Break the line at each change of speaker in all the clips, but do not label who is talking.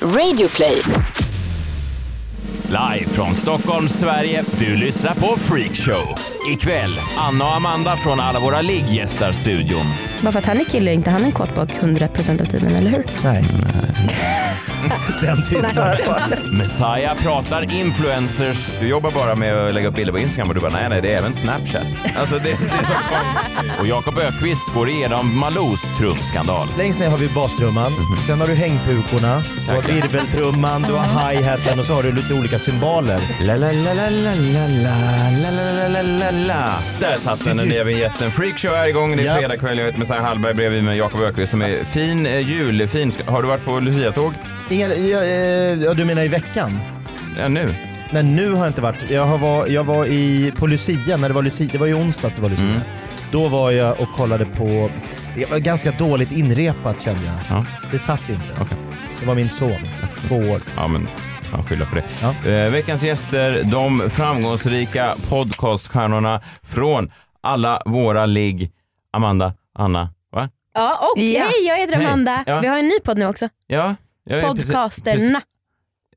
Radioplay.
Live från Stockholm, Sverige. Du lyssnar på Freakshow. Ikväll, Anna och Amanda från alla våra ligg gästar studion.
Bara för att han är kille är inte han en kåtbock 100% av tiden, eller hur?
Nej. Den tystnaden.
Messiah pratar influencers. Du jobbar bara med att lägga upp bilder på Instagram och du bara nej, nej, det är även Snapchat. Alltså det, det är så konstigt. Och Jakob Ökvist går igenom Malous trumskandal.
Längst ner har vi bastrumman,
Mhm.
sen har du hängpukorna, du har virveltrumman, du har hi-haten och så har du lite olika symboler.
La, la, la, la, la, la, la, la, la, la, la, la. Där satt den, den nya vinjetten. Freakshow är igång. Det är
Ja.
fredagkväll. Jag heter Messiah Hallberg bredvid mig Jakob Ökvist som är fin eh, julfin. Ska- Har du varit på Lucia-tåg?
Inga, ja, eh, ja, du menar i veckan?
Ja, nu.
Nej, nu har jag inte varit. Jag, har var, jag var i, på Lucia, när det var Lucia, det var ju onsdags det var Lucia.
Mm.
Då var jag och kollade på, det var ganska dåligt inrepat kände jag.
Ja.
Det satt inte.
Okej.
Det var min son, två år.
Ja, men fan skylla på det.
Ja.
Eh, veckans gäster, de framgångsrika podcaststjärnorna från alla våra ligg. Amanda, Anna, va?
Ja, och
Ja.
hej jag heter
Hej.
Amanda.
Ja.
Vi har en ny podd nu också.
Ja, jag är precis- precis-
Podcasterna.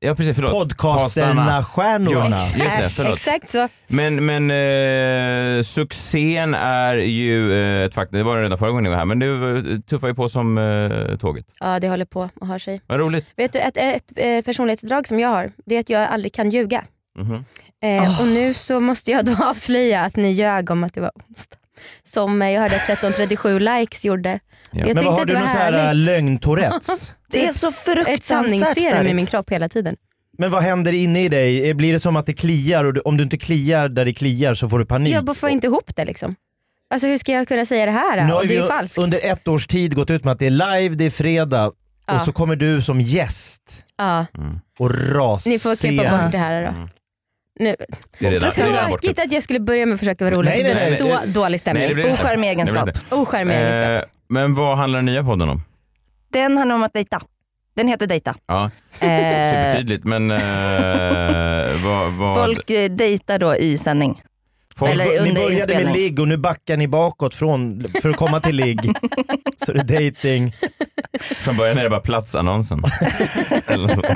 Ja, precis. Förlåt.
Podcasterna,
Ja,
stjärnorna.
just det. Förlåt.
Exakt så.
Men, men eh, succén är ju eh, ett faktum. Det var det redan förra gången ni var här, men du eh, tuffar ju på som eh, tåget.
Ja, det håller på och har sig.
Vad roligt.
Vet du, ett, ett, eh, personlighetsdrag som jag har, det är att jag aldrig kan ljuga.
Mhm.
Eh, Och nu så måste jag då avslöja att ni ljög om att det var onsdag. Som eh, jag hörde att 1337 likes gjorde.
Ja.
Jag
Men vad
tyckte
har
att det
du
var
någon sån här eh,
härligt.
lögn-tourettes?
Det är så
Ett
fruktansvärt
sanningsserum i min
starkt.
kropp hela tiden.
Men vad händer inne i dig? Eh, Blir det som att det kliar och du, om du inte kliar där det kliar så får du panik?
Jag bara får inte ihop det liksom. Alltså hur ska jag kunna säga det här?
nu
då?
har
Och det
vi
är ju falskt.
under ett års tid gått ut med att det är live, det är fredag
Ja.
och så kommer du som gäst
Ja.
och rasera.
Ni får klippa bort det här då. Nu.
Mm. Det är redan, det är redan borta.
Tråkigt att jag skulle börja med att försöka vara rolig
Nej,
så
nej,
blev det
nej,
så dålig stämning.
Nej, det blir det inte.
Ocharmig egenskap.
Det blir
Ocharmig
det inte.
egenskap.
Eh, men vad handlar den nya podden om?
Den handlar om att dejta. Den heter dejta.
Ja,
Eh,
supertydligt. Men eh, vad... vad
folk eh, dejtar då i sändning.
folk
eller-
Ni
under
började med
inspelning.
ligg och nu backar ni bakåt från, för att komma till ligg. så det är dating.
Från början är det bara platsannonsen. Eller så.
Det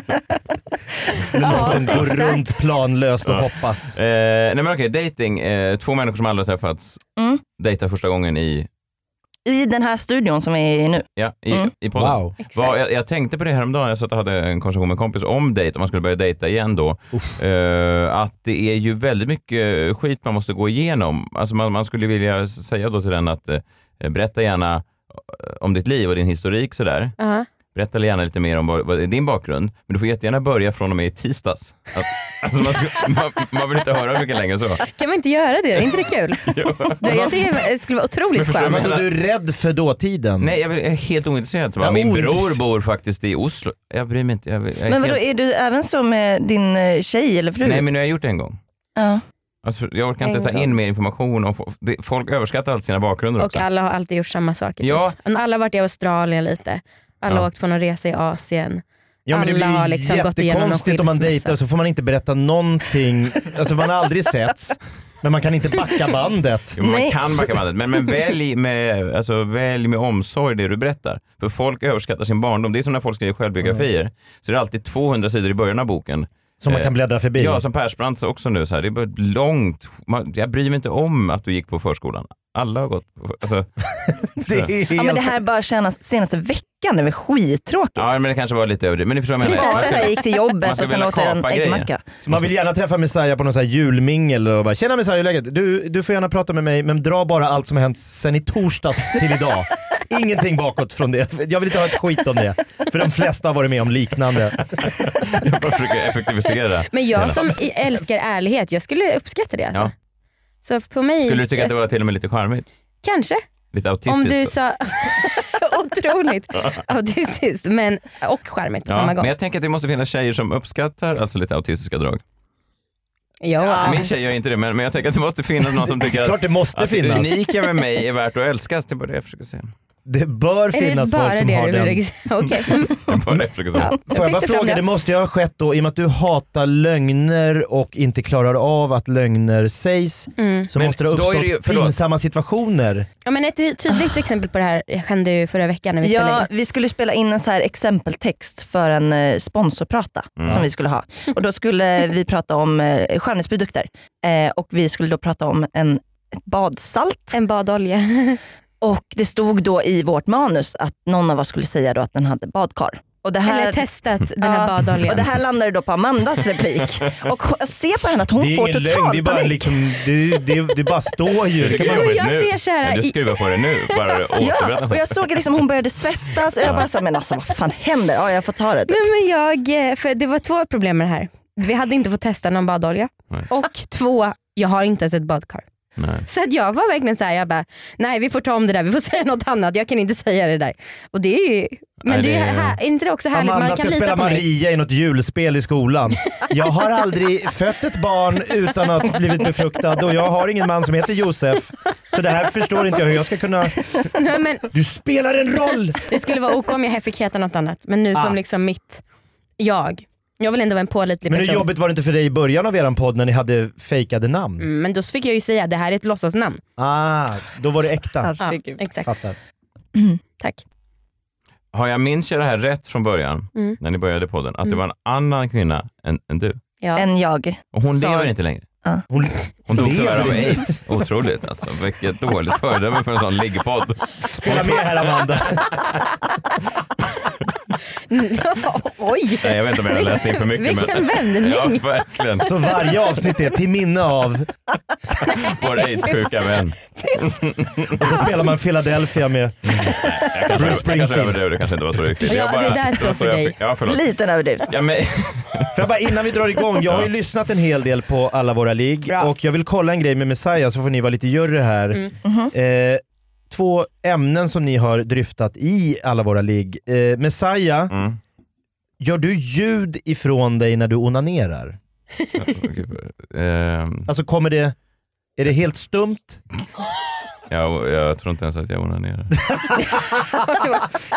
är någon
Ja,
som går
exakt.
runt planlöst och hoppas.
eh, nej men okej, dating. Eh, två människor som aldrig har träffats
Mm.
dejtar första gången i,
I den här studion som vi är i nu.
ja, i,
Mm.
i podden.
Wow.
Vad, jag, jag tänkte på det häromdagen, jag satt och hade en konversation med en kompis om dejt, om man skulle börja dejta igen då. Eh, att det är ju väldigt mycket skit man måste gå igenom. Alltså man, man skulle vilja s- säga då till den att eh, berätta gärna eh, om ditt liv och din historik sådär.
Ja.
Berätta gärna lite mer om vad, vad är din bakgrund. Men du får jättegärna börja från och med i tisdags. Att, alltså man, skulle- man, man vill inte höra mycket längre så.
Kan man inte göra det? Är inte det kul? Du, jag tycker det skulle vara otroligt
Men förstår
skönt.
jag
Alltså
menar-
du är rädd för dåtiden?
Nej, jag vill- jag är helt ointresserad. Så bara,
Ja,
min bror
ointresse-
bor faktiskt i Oslo. Jag bryr mig inte. Jag, vill- jag är
Men vadå,
helt...
är du även så med din eh, tjej eller fru?
Nej, men nu har jag gjort det en gång.
ja.
Alltså, jag orkar inte
En
ta
gång.
in mer information. Om, fo- det, folk överskattar alltid sina bakgrunder
Och
också.
alla har alltid gjort samma saker.
Ja.
typ. Men Alla har varit i Australien lite. Alla
Ja.
har åkt på någon resa i Asien.
Ja, men det
Alla
blir
har liksom gått igenom någon
jättekonstigt om man
skilsmässa.
dejtar så får man inte berätta någonting, alltså man har aldrig setts, men man kan inte backa bandet.
Jo, men man
Nej.
kan backa bandet, men, men välj, med, alltså, välj med omsorg det du berättar. För folk överskattar sin barndom. Det är som när folk skriver självbiografier. Så det är alltid 200 sidor i början av boken.
Som man kan bläddra förbi.
Ja, som Persbrandt sa också nu, så här, det är bara ett långt. Man, jag bryr mig inte om att du gick på förskolan. Alla har gått på alltså,
det är helt...
ja men det här bara kännas senaste veckan, det är väl skittråkigt.
Ja, men det kanske var lite överdrivet. Men ni förstår vad jag menar.
Bara att jag gick till
Man
jobbet
ska
och sen
vilja
åt jag en
kapa grejer.
äggmacka.
Man vill gärna träffa Messiah på någon sån här julmingel och bara “tjena Messiah, hur är läget? Du, du får gärna prata med mig men dra bara allt som har hänt sen i torsdags till idag. Ingenting bakåt från det. Jag vill inte ha ett skit om det. För de flesta har varit med om liknande.
Jag bara försöker effektivisera.
Men jag som i- älskar ärlighet, jag skulle uppskatta det. Alltså.
Ja.
Så på mig,
Skulle du tycka att det var till och med lite charmigt?
Kanske.
Lite autistiskt?
Om du sa otroligt autistiskt men, och charmigt på
Ja,
samma gång.
Men jag tänker att det måste finnas tjejer som uppskattar alltså lite autistiska drag.
Ja.
Min tjej gör inte det, men, men jag tänker att det måste finnas någon som tycker Alltså,
Klart
att,
det måste
att det
finnas.
unika med mig är värt att älskas. Det är bara det jag försöker säga.
Det bör
Är det
finnas
bara
folk som
det
har
du
den.
vill Okej. Mm.
Det var det jag försökte säga.
Ja,
Får jag
fick
bara
det fram
fråga,
det.
det måste ju ha skett då i och med att du hatar lögner och inte klarar av att lögner sägs
Mm.
så
Men
måste det ha
då är
uppstått
det ju- förlåt.
pinsamma situationer.
Ja, men ett ty- tydligt exempel på det här hände ju förra veckan när vi spelade
Ah. Ja,
in.
vi skulle spela in en så här exempeltext för en eh, sponsorprata
Mm.
som vi skulle ha. Och då skulle vi prata om eh, skönhetsprodukter. Eh, och vi skulle då prata om en, ett badsalt.
En badolja.
Och det stod då i vårt manus att någon av oss skulle säga då att den hade badkar. Och det här,
Eller testat den här
Ja, och
badoljan.
det här landade då på Amandas replik. Och jag ser på henne att hon
det är
får
ingen
total
lögn, det är bara,
panik.
liksom, det, det, det bara står ju.
Det kan man
Men
göra
jag
nu.
ser så här
Ja, Du
i-
skruvar på det nu, bara
Ja,
återberätta.
och jag såg liksom hon började svettas och jag bara så här, men alltså vad fan händer? Ja jag får ta det.
Nej, men jag, eh, för det var två problem med det här. Vi hade inte fått testa någon badolja
Nej.
och två, jag har inte ens ett badkar.
Nej.
Så att jag var verkligen så här, jag bara, nej vi får ta om det där, vi får säga något annat, jag kan inte säga det där. Och det är ju, men
Nej,
det är,
det
ju
är-
här, är inte det också härligt?
Amanda
Man
ska
kan lita
spela
på mig.
Maria i något julspel i skolan. Jag har aldrig fött ett barn utan att blivit befruktad och jag har ingen man som heter Josef. Så det här förstår inte jag hur jag ska kunna...
Nej, men
Du spelar en roll!
det skulle vara ok om jag fick heta något annat, men nu
Ah.
som liksom mitt jag. Jag vill ändå vara en pålitlig
Men hur
person.
jobbigt var det inte för dig i början av eran podd när ni hade fejkade namn?
Mm, men då fick jag ju säga, det här är ett låtsasnamn.
Ah, då var det äkta.
Ja,
Herregud.
exakt,
Fattar.
tack.
Har jag minns jag det här rätt från början,
Mm.
när ni började podden, att det
Mm.
var en annan kvinna än, än du?
Ja.
En jag.
Och hon
Sa-
lever inte längre.
Hon,
Hon dog
Lever
tyvärr av
inte.
aids. Otroligt alltså. Vilket dåligt föredöme för en sån liggpodd.
spela med här Amanda.
Oj!
Nej, jag vet inte om jag har läst in för mycket.
Vilken
Men...
vändning!
Ja, verkligen.
Så varje avsnitt är till minne av
Vår aidssjuka vän.
och så spelar man Philadelphia med
Jag kanske-
Bruce
Jag kanske
Springsteen.
överdrev, det kanske inte var så riktigt.
Ja,
Jag
det där står
var så
för
jag
dig.
fick- Ja, förlåt.
Liten överdrift.
Ja, men...
För jag bara, innan vi drar igång, jag har ju lyssnat en hel del på alla våra ligg
Bra.
och jag vill kolla en grej med Messiah så får ni vara lite jury här.
Mm.
Eh, två ämnen som ni har dryftat i alla våra ligg. Eh, Messiah,
mm.
gör du ljud ifrån dig när du onanerar?
Ehm,
Alltså kommer det, är det helt stumt?
jag, jag tror inte ens att jag onanerar.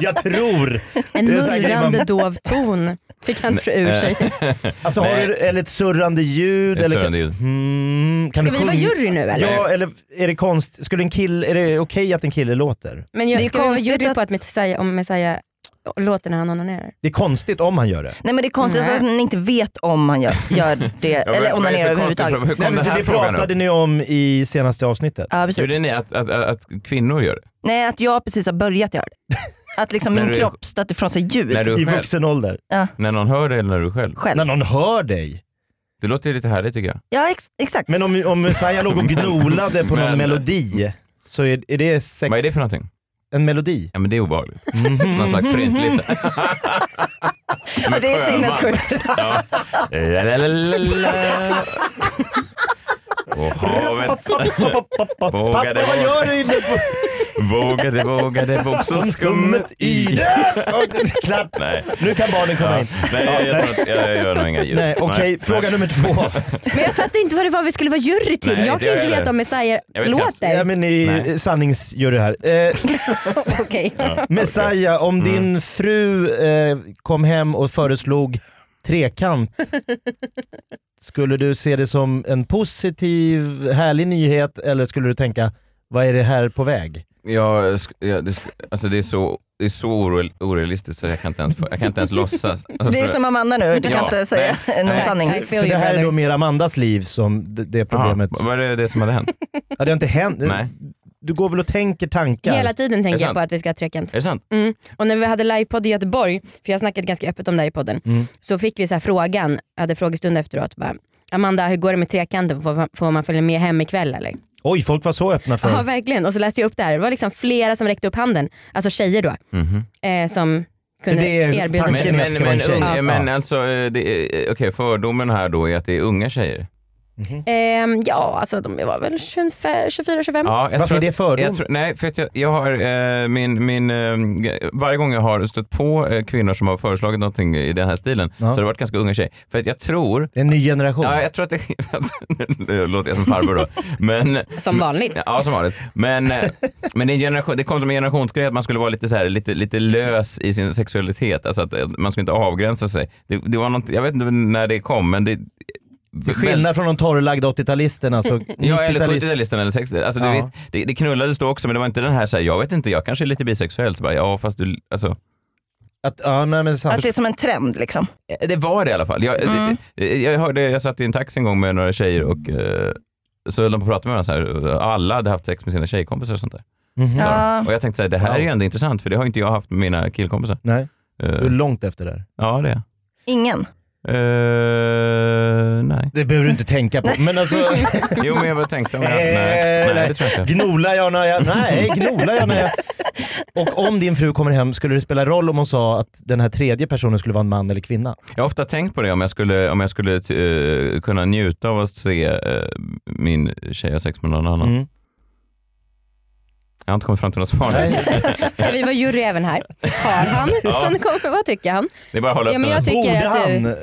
Jag tror!
En
Det är så här grejer man-
murrande dov ton fick han ur
eh,
sig.
Alltså har du, eller ett surrande ljud?
Ett
eller
surrande ljud.
Mm, kan
Ska
du
vi vara
sjunga?
jury nu eller?
Ja, eller är det konst, skulle en kille, är det okej att en kille låter?
Men jag,
Det är
ska vi vara
konstigt
jury på
att-
att Messiah, om Messiah låter när han onanerar?
Det är konstigt om han gör det.
Nej men det är konstigt
Nej.
att man inte vet om han gör, gör det
Ja,
eller
men vad är det
onanerar
för konstig
överhuvudtaget.
fråga? Hur
Nej,
kom
men
den
för
här
det
frågan
pratade
upp?
ni om i senaste avsnittet.
Ja, precis.
Gjorde ni att, att, att, att kvinnor gör det?
Nej att jag precis har börjat göra det. Att liksom
När
min
du-
kropp stöter ifrån sig ljud.
När du
I
själv?
vuxen ålder.
När någon hör det eller när du själv?
själv.
När någon hör dig.
Det låter ju lite härligt tycker jag.
Ja ex exakt.
Men om, om Messiah låg och gnolade på någon
Men-
melodi så är, är det sex...
Vad är det för någonting?
En melodi?
Ja men det är obehagligt. Som
Mm.
någon slags förintlista. Som
Ja,
en
det är
sjöman.
sinnessjukt.
Ja. Lalalala. Och havet Vågade
Pappa vad gör du? inne på-
vågade, vågade, våg så
Som skummet i det. Och det är Klart.
Nej.
Nu kan barnen komma
Ja.
in.
Nej, jag, tror inte, jag gör nog inga ljud.
Nej, okej. Fråga nummer två.
Men jag fattar inte vad det var vi skulle vara jury till.
Nej,
jag
det
kan ju inte
är det.
veta om Messiah
Jag vet
låter.
Ja, men ni
Nej.
sanningsgör det här. Eh,
Okej.
Messiah, om
Mm.
din fru eh, kom hem och föreslog trekant, skulle du se det som en positiv, härlig nyhet eller skulle du tänka, vad är det här på väg?
Ja, sk- ja, det, sk- alltså det är så, det är så oreal, orealistiskt så jag kan inte ens, jag kan inte ens låtsas. Alltså,
Det är
för-
som Amanda nu, du kan
Ja.
inte säga någon
Nej.
sanning.
I
För
feel
det
you
här är då
brother.
mer Amandas liv som det, det
Jaha,
problemet.
vad är det, det som hade hänt?
Ja, det har inte hänt.
Nej.
Du går väl och tänker tankar?
Hela tiden
Är det
tänker jag
sant?
på att vi ska ha trekant.
Är det sant?
Mm. Och när vi hade livepodd i Göteborg, för jag har snackat ganska öppet om det här i podden,
Mm.
så fick vi så här frågan, jag hade frågestund efteråt, bara, Amanda hur går det med trekanten, får, får man följa med hem ikväll eller?
Oj, folk var så öppna för...
Ja verkligen, och så läste jag upp det här, det var liksom flera som räckte upp handen, alltså tjejer då,
Mhm.
eh, som kunde
det är
erbjuda sig.
tanken.
Men,
är att det
men,
ska vara en
men,
tjej.
unga,
Ja. Mm.
men alltså, eh, det är- okej fördomen här då är att det är unga tjejer.
Mhm.
Ehm, ja, alltså de var väl 24-25.
Ja, jag
Varför
tror
är det fördom?
Jag tror, nej, för att jag, jag har eh, min, min, eh, varje gång jag har stött på eh, kvinnor som har föreslagit någonting i den här stilen så har det varit ganska unga tjejer. För att jag tror,
Det är en ny generation.
ja, jag tror att det, nu låter jag som farbror då, men
Som vanligt.
Ja, som vanligt. Men, eh, men det, är en generation, det kom som en generationsgrej att man skulle vara lite, så här, lite, lite lös i sin sexualitet. Alltså att eh, man skulle inte avgränsa sig. Det, det var något, jag vet inte när det kom, men det...
Till skillnad från de torrlagda alltså 80-talisterna så
Ja, eller
90-talister.
70-talistan eller 60 alltså, det,
Ja.
visst, det, det knullades då också, men det var inte den här, så här jag vet inte, jag kanske är lite bisexuell. Så bara, ja, fast du, alltså,
Att, ja, nej, men sant.
Att det är som en trend liksom.
Eh, Det var det i alla fall. Jag, jag, jag, hörde, jag satt i en taxi en gång med några tjejer och eh, så höll de på att prata med varandra så här. Alla hade haft sex med sina tjejkompisar och sånt där.
Mhm.
Så,
Ja.
Och jag tänkte så här, det här är ju
Wow.
ändå intressant för det har inte jag haft med mina killkompisar.
Nej,
Eh,
du är långt efter där.
ja, det är jag.
Ingen.
Eh, nej.
Det behöver du inte tänka på. Men alltså,
Jo, men jag bara tänkte om jag... Nej,
Eh,
nej,
nej.
det tror jag inte.
gnolar jag när jag... Nej, gnolar jag när jag... Och om din fru kommer hem, skulle det spela roll om hon sa att den här tredje personen skulle vara en man eller kvinna?
Jag har ofta tänkt på det om jag skulle, om jag skulle eh, kunna njuta av att se eh, min tjej ha sex med någon annan.
Mm.
Jag har inte kommit fram till något svar.
Nej.
Ska vi vara jury även här? Har han? Sen kommer, vad tycker han?
Det är bara att hålla
Ja,
upp
men
den.
jag tycker
Borde
att du-
han?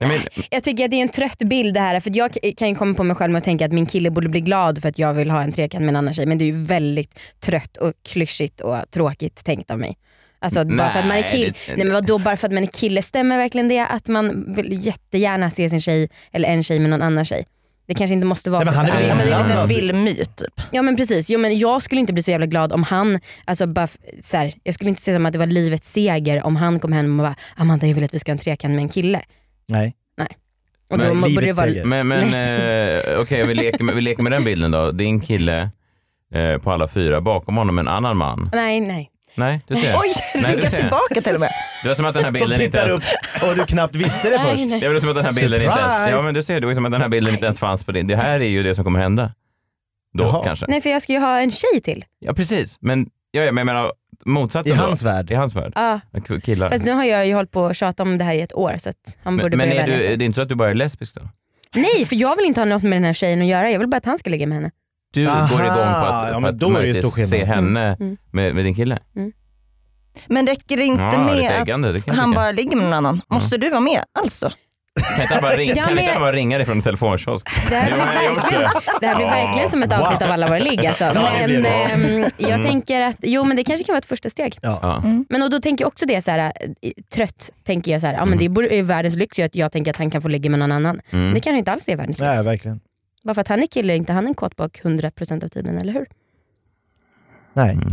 Nej, men-
Jag tycker att det är en trött bild det här. För att jag k- kan ju komma på mig själv med att tänka att min kille borde bli glad för att jag vill ha en trekant med en annan tjej. Men det är ju väldigt trött och klyschigt och tråkigt tänkt av mig. Alltså bara för att man är
Nej,
kille.
det-
Nej men vadå bara för att man är kille, stämmer verkligen det att man vill jättegärna se sin tjej eller en tjej med någon annan tjej? Det kanske inte måste vara
Nej, men
så.
han är
för
väl
alla.
Ja, men det är lite en
inblandad.
filmmyt typ.
Ja men precis, jo, men jag skulle inte bli så jävla glad om han, alltså, bara, f- så här, jag skulle inte se som att det var livets seger om han kom hem och bara Amanda jag vill att vi ska ha en trekant med en kille.
Nej.
Och
Nej,
då borde det
livets
vara,
seger.
Men, men eh, okej, vi, leker med, vi leker med den bilden då. Din kille eh, på alla fyra, bakom honom en annan man.
Nej nej.
Nej, du ser.
Oj,
Nej, du
rygga
ser.
tillbaka till och med.
Det var som att den här
Som
bilden inte
tittar
ens...
upp och du knappt visste det
Nej,
först.
nej.
Det var som liksom att den här bilden inte ens...
Surprise!
Ja, men du ser, det var som att den här bilden inte ens fanns på din... Det här är ju det som kommer hända. Då
Jaha.
kanske.
Nej för jag ska ju ha en tjej till.
Ja, precis. Men, ja, ja, men jag menar
I
motsatsen
hans
då. I
värld.
hans värld.
Ja.
K- Killar.
Fast nu har jag ju hållit på och tjatat om det här i ett år så att han borde
men men
börja
är
vänja
du,
sig.
det är inte så att du bara är lesbisk då?
Nej för jag vill inte ha något med den här tjejen att göra, jag vill bara att han ska ligga med henne.
Du
Aha,
går igång på att,
ja,
på
men
att
då är det ju
möjligtvis
stor
se
skillnad.
henne
Mm.
Med, med din kille?
Men räcker det inte
ja, lite
med
äggande, det kan
att
jag
han
tycka.
bara ligger med någon annan? Måste du vara med alls då?
Kan inte han bara ringa,
Ja,
kan inte
men-
han bara ringa dig från en telefonkiosk?
Det här
Jo,
blir
jag gjort
verkligen, det här blir
Ja.
verkligen som ett avsnitt av Alla våra ligg alltså.
det blir
Men
det.
ehm, jag
Mm.
tänker att, jo men det kanske kan vara ett första steg.
Ja.
Men och då tänker jag också det, så här, eh, trött tänker jag så här, ja,
Mm.
men det borde- är världens lyx ju att jag tänker att han kan få ligga med någon annan. Men Det kanske inte alls är världens lyx.
Nej, verkligen.
Bara för att han är kille är inte han en kåtbock 100% av tiden, eller hur?
Nej.
Mm.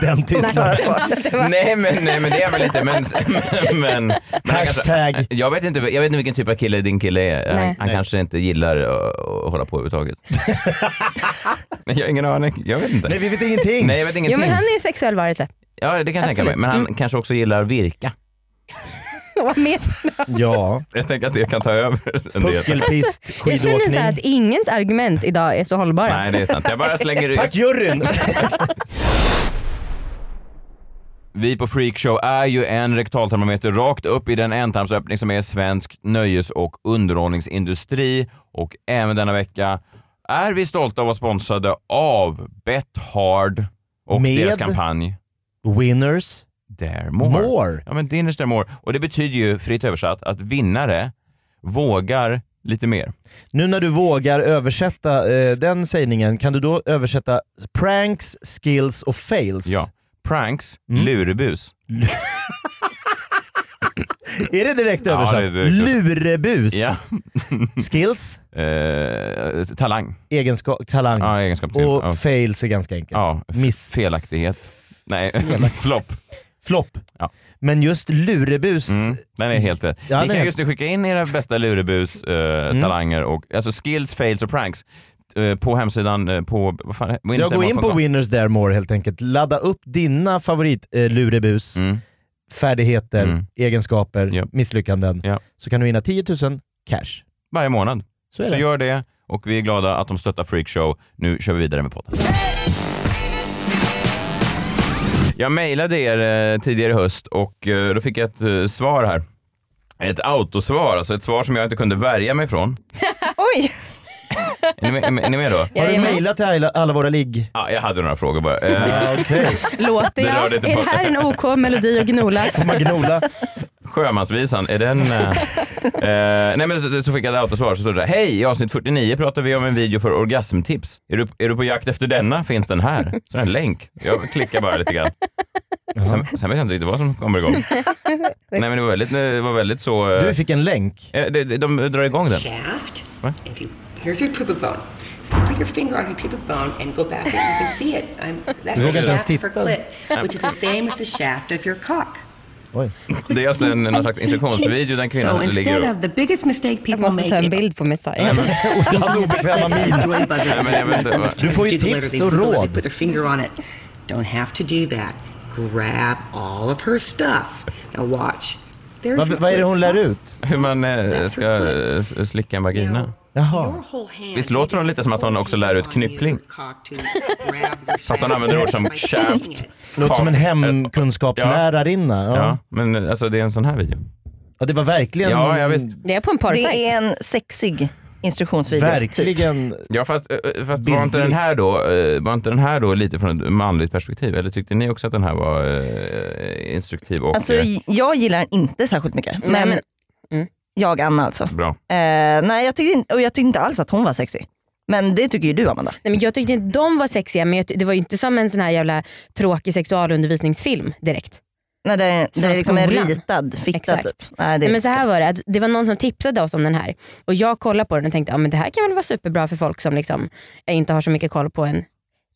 Den tystnaden.
Nej men, nej men det är väl lite men... men, men, men han kanske,
Hashtag.
Äh, jag, vet inte, jag vet inte vilken typ av kille din kille är. Han,
Nej.
han kanske inte gillar att, att hålla på överhuvudtaget. men jag har ingen aning. Jag vet inte.
Nej, vi vet ingenting.
Nej jag vet
Jo
ingenting.
men han är en sexuell varelse.
Ja det kan jag tänka mig.
Absolut.
Men han kanske också gillar virka.
Vad menar
Ja.
Jag tänker att det kan ta över en del.
Puckelpist,
Alltså, Jag känner så här att
skidåkning.
ingens argument idag är så hållbara.
Nej det är sant. Jag bara slänger ut.
Tack juryn!
Vi på Freakshow är ju en rektaltermometer rakt upp i den ändtarmsöppning som är svensk nöjes och underhållningsindustri. Och även denna vecka är vi stolta att vara sponsrade av Bet Hard och
Med?
deras kampanj
Winners
Dare More.
more.
Ja men Dinners Dare More. Och det betyder ju fritt översatt att vinnare vågar lite mer.
Nu när du vågar översätta eh, den sägningen, kan du då översätta pranks, skills och fails?
Ja. Pranks,
Mm.
lurebus.
Är det direkt
Ja,
översatt?
det är direkt
Lurebus.
Ja.
Skills,
Eh, talang.
egenskap, talang.
Ja, egenskap till.
Och
Ja.
fails är ganska enkelt.
Ja,
Miss.
felaktighet. Nej, flopp.
Flopp.
Ja.
Men just lurebus,
Mm, den är helt rätt.
Ja,
Ni
den
kan
är- Mm.
just nu skicka in era bästa lurebus, eh, talanger och alltså skills, fails och pranks eh, på hemsidan eh, på... Vad fan,
jag går in på Winners Dare More helt enkelt. Ladda upp dina favorit eh, lurebus,
Mm.
färdigheter,
Mm.
egenskaper,
Japp.
misslyckanden.
Japp.
Så kan du vinna 10 000 cash.
Varje månad.
Så är
Så
det.
gör det och vi är glada att de stöttar Freakshow. Nu kör vi vidare med podden. Jag mejlade er eh, tidigare i höst och eh, då fick jag ett eh, svar här Ett autosvar, alltså ett svar som jag inte kunde värja mig från.
Oj!
Är ni med, är ni med då?
Har du
Jajamän.
mejlat till alla- alla våra ligg?
Ja, jag hade några frågor bara. Eh,
Okej.
Låter
Det
jag?
rörde
Är
inte
det
på-
här en OK melodi och gnola?
Magnola.
Sjömansvisan, är den... eh, eh, nej men så, så fick jag ett autosvar så stod det där. Hej, i avsnitt 49 pratar vi om en video för orgasmtips. Är du, är du på jakt efter denna? Finns den här? Så är det en länk. Jag klickar bara lite grann. Sen, sen vet jag inte riktigt vad som kommer igång. nej men det var väldigt, det var väldigt så... eh,
Du fick en länk.
eh, de, de, de drar igång den.
shaft.
What?
If you here's your pubic bone. Put your finger on your pubic bone and go back, and you can see it. I'm, that's
Look
the
at that
shaft for
tittle.
clit, which is the same as the shaft of your cock.
Oj.
Det är alltså en, någon slags instruktionsvideo den
So
kvinnan ligger
instead
och...
of the biggest mistake
Jag
people
måste
make
ta en bild på Messiah.
Hans obekvämma min.
Nej, men jag vet inte. vad-
Du får ju tips och råd.
Put their finger on it. Don't have to do that. Grab all of her stuff. Now watch. There's
Vad,
your
vad är det hon lär
clit.
ut?
Hur man eh, ska eh, s- slicka en vagina.
Jaha.
Visst låter hon lite som att hon också lär ut knyppling? Fast hon använder ord som shaft.
Låter som en hemkunskapslärarinna. Ja.
Ja,
Ja.
men eh, alltså det är en sån här video.
det var verkligen...
Ja, ja visst.
Det är på en porrsajt.
Det är en sexig instruktionsvideo. Typ.
Verkligen.
Ja, fast, eh, eh, fast var,
Bildning.
inte den här då, eh, var inte den här då lite från ett manligt perspektiv? Eller tyckte ni också att den här var eh, instruktiv och
Alltså,
eh,
jag gillar den inte särskilt mycket. Men
men- Mm.
jag Anna alltså.
bra?
Eh, nej, jag tyckte, inte- och jag tyckte inte alls att hon var sexig. Men det tycker ju du Amanda.
Nej, men jag tyckte inte de var sexiga men jag ty- det var ju inte som en sån här jävla tråkig sexualundervisningsfilm direkt.
När det, där det är liksom en
skolan.
ritad fitta.
Exakt.
Typ. Nej, det,
Nej, men så här var det, att det var någon som tipsade oss om den här och jag kollade på den och tänkte ja, men det här kan väl vara superbra för folk som liksom, eh, inte har så mycket koll på en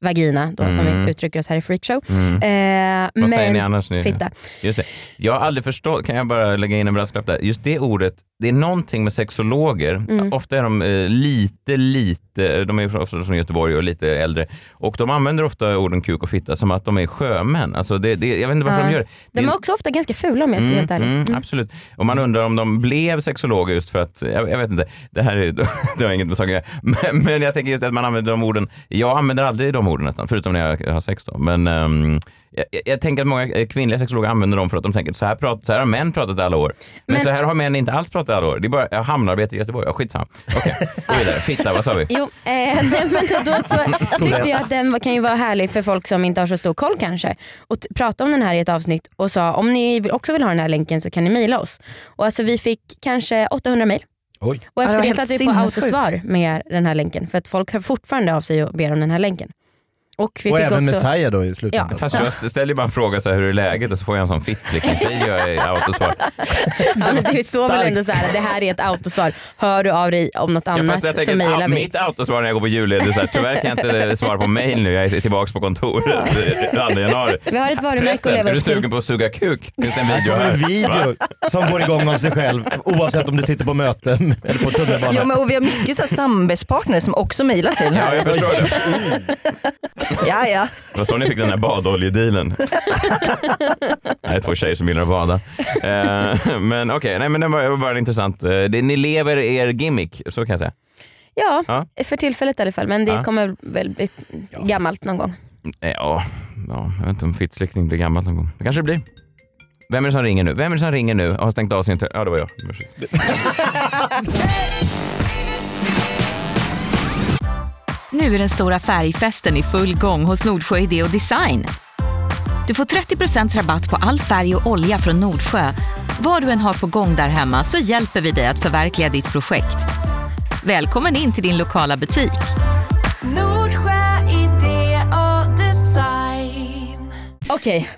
vagina då, som
Mm.
vi uttrycker oss här i freakshow.
Mm.
Eh,
Vad
men,
säger ni annars? Ni?
Fitta.
Just det. Jag har aldrig förstått, kan jag bara lägga in en brasklapp där, just det ordet, det är någonting med sexologer, ofta är de eh, lite, lite, de är ju ofta från Göteborg och lite äldre, och de använder ofta orden kuk och fitta som att de är sjömän. Alltså det, det, jag vet inte varför
Ja.
de gör det. det.
De
är-
är också ofta ganska fula om jag ska vara helt ärlig.
Mm,
Mm.
Absolut. Och man undrar om de blev sexologer just för att, jag, jag vet inte, det här är, det har inget med saken att göra. men, men jag tänker just att man använder de orden, jag använder aldrig de orden nästan, förutom när jag har sex då. Men ehm, jag, jag- jag tänker att många eh, kvinnliga sexologer använder dem för att de tänker att så här, prat, så här har män pratat i alla år. Men,
Men-
så här har män inte alls pratat i alla år. Det är bara jag hamnarbete i Göteborg, ja, skitsamma. Okej, gå vidare. Fitta, vad sa vi?
Jo, eh, nej, men då- då så tyckte jag att den var- kan ju vara härlig för folk som inte har så stor koll kanske. Och t- prata om den här i ett avsnitt och sa om ni vill- också vill ha den här länken så kan ni mejla oss. Och alltså vi fick kanske 800 mejl.
Oj.
det
Och efter
var
det,
helt
satte vi på
sinnessjukt.
autosvar med den här länken för att folk hör fortfarande av sig och ber om den här länken. Och vi
Och
fick
även
också...
Messiah då i slutändan.
Fast jag st- ställer ju bara en fråga så här, hur är läget och så får jag en sån fitt liksom. Det gör jag i autosvar.
Ja, men det står väl
Starkt.
ändå så här, det här är ett autosvar. Hör du av dig om något
Ja,
annat
fast jag tänker,
så mejlar
ja,
vi.
Mitt autosvar när jag går på julledigt är så här, tyvärr kan jag inte eh, svara på mail nu, jag är tillbaka på kontoret den 2 januari.
Vi har ett varumärke att
Förresten,
leva
är du
upp till.
sugen på att suga kuk? Finns det en video
En
här?
video som går igång av sig själv oavsett om du sitter på möten eller på
jo,
tunnelbanan.
men, och vi har mycket så här samarbetspartner som också mejlar till den
Ja,
här.
jag förstår det.
ja, ja.
Det var så ni fick den där badoljedealen. Det här är två tjejer som gillar att bada. Eh, Men okej, nej men det var bara intressant. Eh, det- Ni lever er gimmick, så kan jag säga.
Ja,
Ja.
för tillfället i alla fall. Men det
Ja.
kommer väl bli gammalt någon gång.
Eh, Ja, ja jag vet inte om fittslickning blir gammalt någon gång. Det kanske det blir. Vem är det som ringer nu? Vem är det som ringer nu och har stängt av sin... te- Ja, det var jag.
Nu är den stora färgfesten i full gång hos Nordsjö Idé och Design. Du får 30 rabatt på all färg och olja från Nordsjö. Vad du än har på gång där hemma så hjälper vi dig att förverkliga ditt projekt. Välkommen in till din lokala butik.
Nordsjö idé och design.
Okej.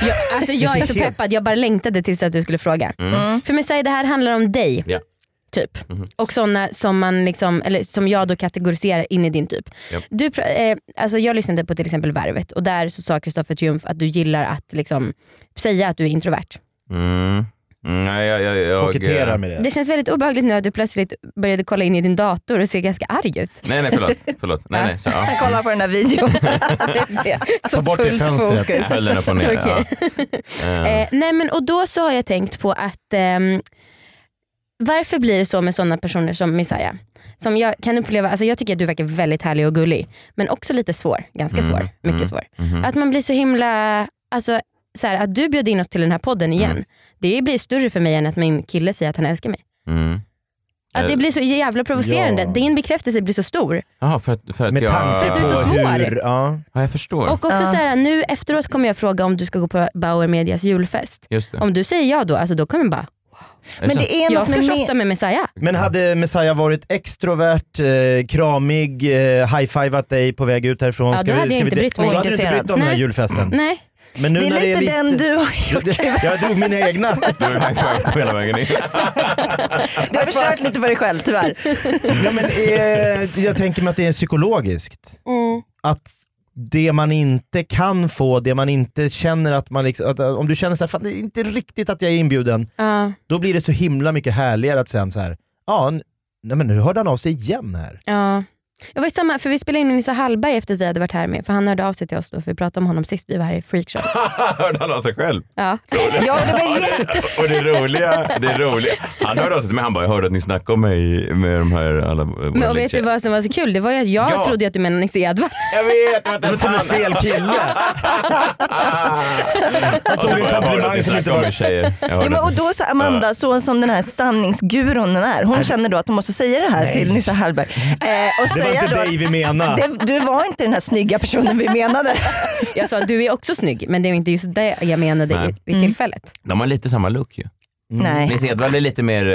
Jag, alltså jag är så peppad, jag bara längtade tills att du skulle fråga. Mm. För mig säger det här handlar om dig.
Ja.
Typ. Och sådana som, man liksom, eller som jag då kategoriserar in i din typ.
Japp.
Du, pra- eh, alltså jag lyssnade på till exempel Värvet och där så sa Kristoffer Triumf att du gillar att liksom säga att du är introvert.
Mm. Nej, jag... jag, jag
Koketterar med det.
Det känns väldigt obehagligt nu att du plötsligt började kolla in i din dator och ser ganska arg ut.
Nej, nej, förlåt. förlåt. Nej, nej, så, ja.
Jag kollar på den här videon.
så
bort det
fullt
fönstret.
Jag
fokus.
höll den upp och ner.
Okej.
Ja. Eh,
Eh, nej men och då så har jag tänkt på att ehm, varför blir det så med sådana personer som Messiah? Som jag kan uppleva, alltså jag tycker att du verkar väldigt härlig och gullig men också lite svår, ganska
Mm,
svår, mycket
mm.
svår.
mhm.
Att man blir så himla, alltså så här, att du bjöd in oss till den här podden igen,
Mm.
det blir större för mig än att min kille säger att han älskar mig.
Mm.
Att det
Eh,
blir så jävla provocerande.
Ja.
Din bekräftelse blir så stor.
Jaha, för att, för att
Med
jag...
tanke
För att
på
du är så
hur...
svår.
Ja.
Ja, jag förstår.
Och också
Ja.
så här, nu efteråt kommer jag fråga om du ska gå på Bauer Medias julfest.
Just det.
Om du säger ja då, alltså då kommer jag bara,
Är
Men
så?
det är något
jag ska
med
shotta med Messiah.
Men hade Messiah varit extrovert, eh, kramig, eh, high-fivat dig på väg ut härifrån?
Ja, då hade jag inte brytt mig.
Då hade du inte brytt dig om den här
Nej.
julfesten.
Nej.
Men nu
Det
när
är lite den du har gjort.
Jag drog mina egna.
Du är high-five på hela vägen in.
Du har förstört lite för dig själv tyvärr.
Ja, men, eh, jag tänker mig att det är psykologiskt.
Mm.
Att det man inte kan få, det man inte känner att man liksom, att, eh, om du känner så här, fan det är inte riktigt att jag är inbjuden,
Ja,
då blir det så himla mycket härligare att sen så här, ja, n- nej men nu hörde han av sig igen här.
ja. Jag var ju samma, för vi spelade in med Nissa Hallberg efter att vi hade varit här med, för han hörde av sig till oss då, för vi pratade om honom sist vi var här i freakshow.
Hörde han av sig själv?
Ja.
Ja, det var jätte-
Och det roliga, det roliga. Han hörde av sig till mig, han bara, jag hörde att ni snackade om mig med de här alla våra
Men och vet du
lektier."
vad som var så kul? Det var ju att jag
Ja.
trodde ju att du menade Nisse Edwall.
Jag vet, jag vet
Du
inte
tog
ens han.
fel kille.
Jag
tog en komplimang som inte var-
tjejer. Jag hörde
Ja, men, och
det.
då så Amanda, så som den här sanningsguron den är, hon känner då att hon måste säga det här till Nissa Hallberg. Eh, och
Det var
säga
inte
då
dig vi menade.
att, det, du var inte den här snygga personen vi menade.
Mm,
Jag sa du är också snygg men det är inte just det jag menade
Nej.
i- vid tillfället.
De har lite samma look ju.
Nej.
Nisse Edwall är lite mer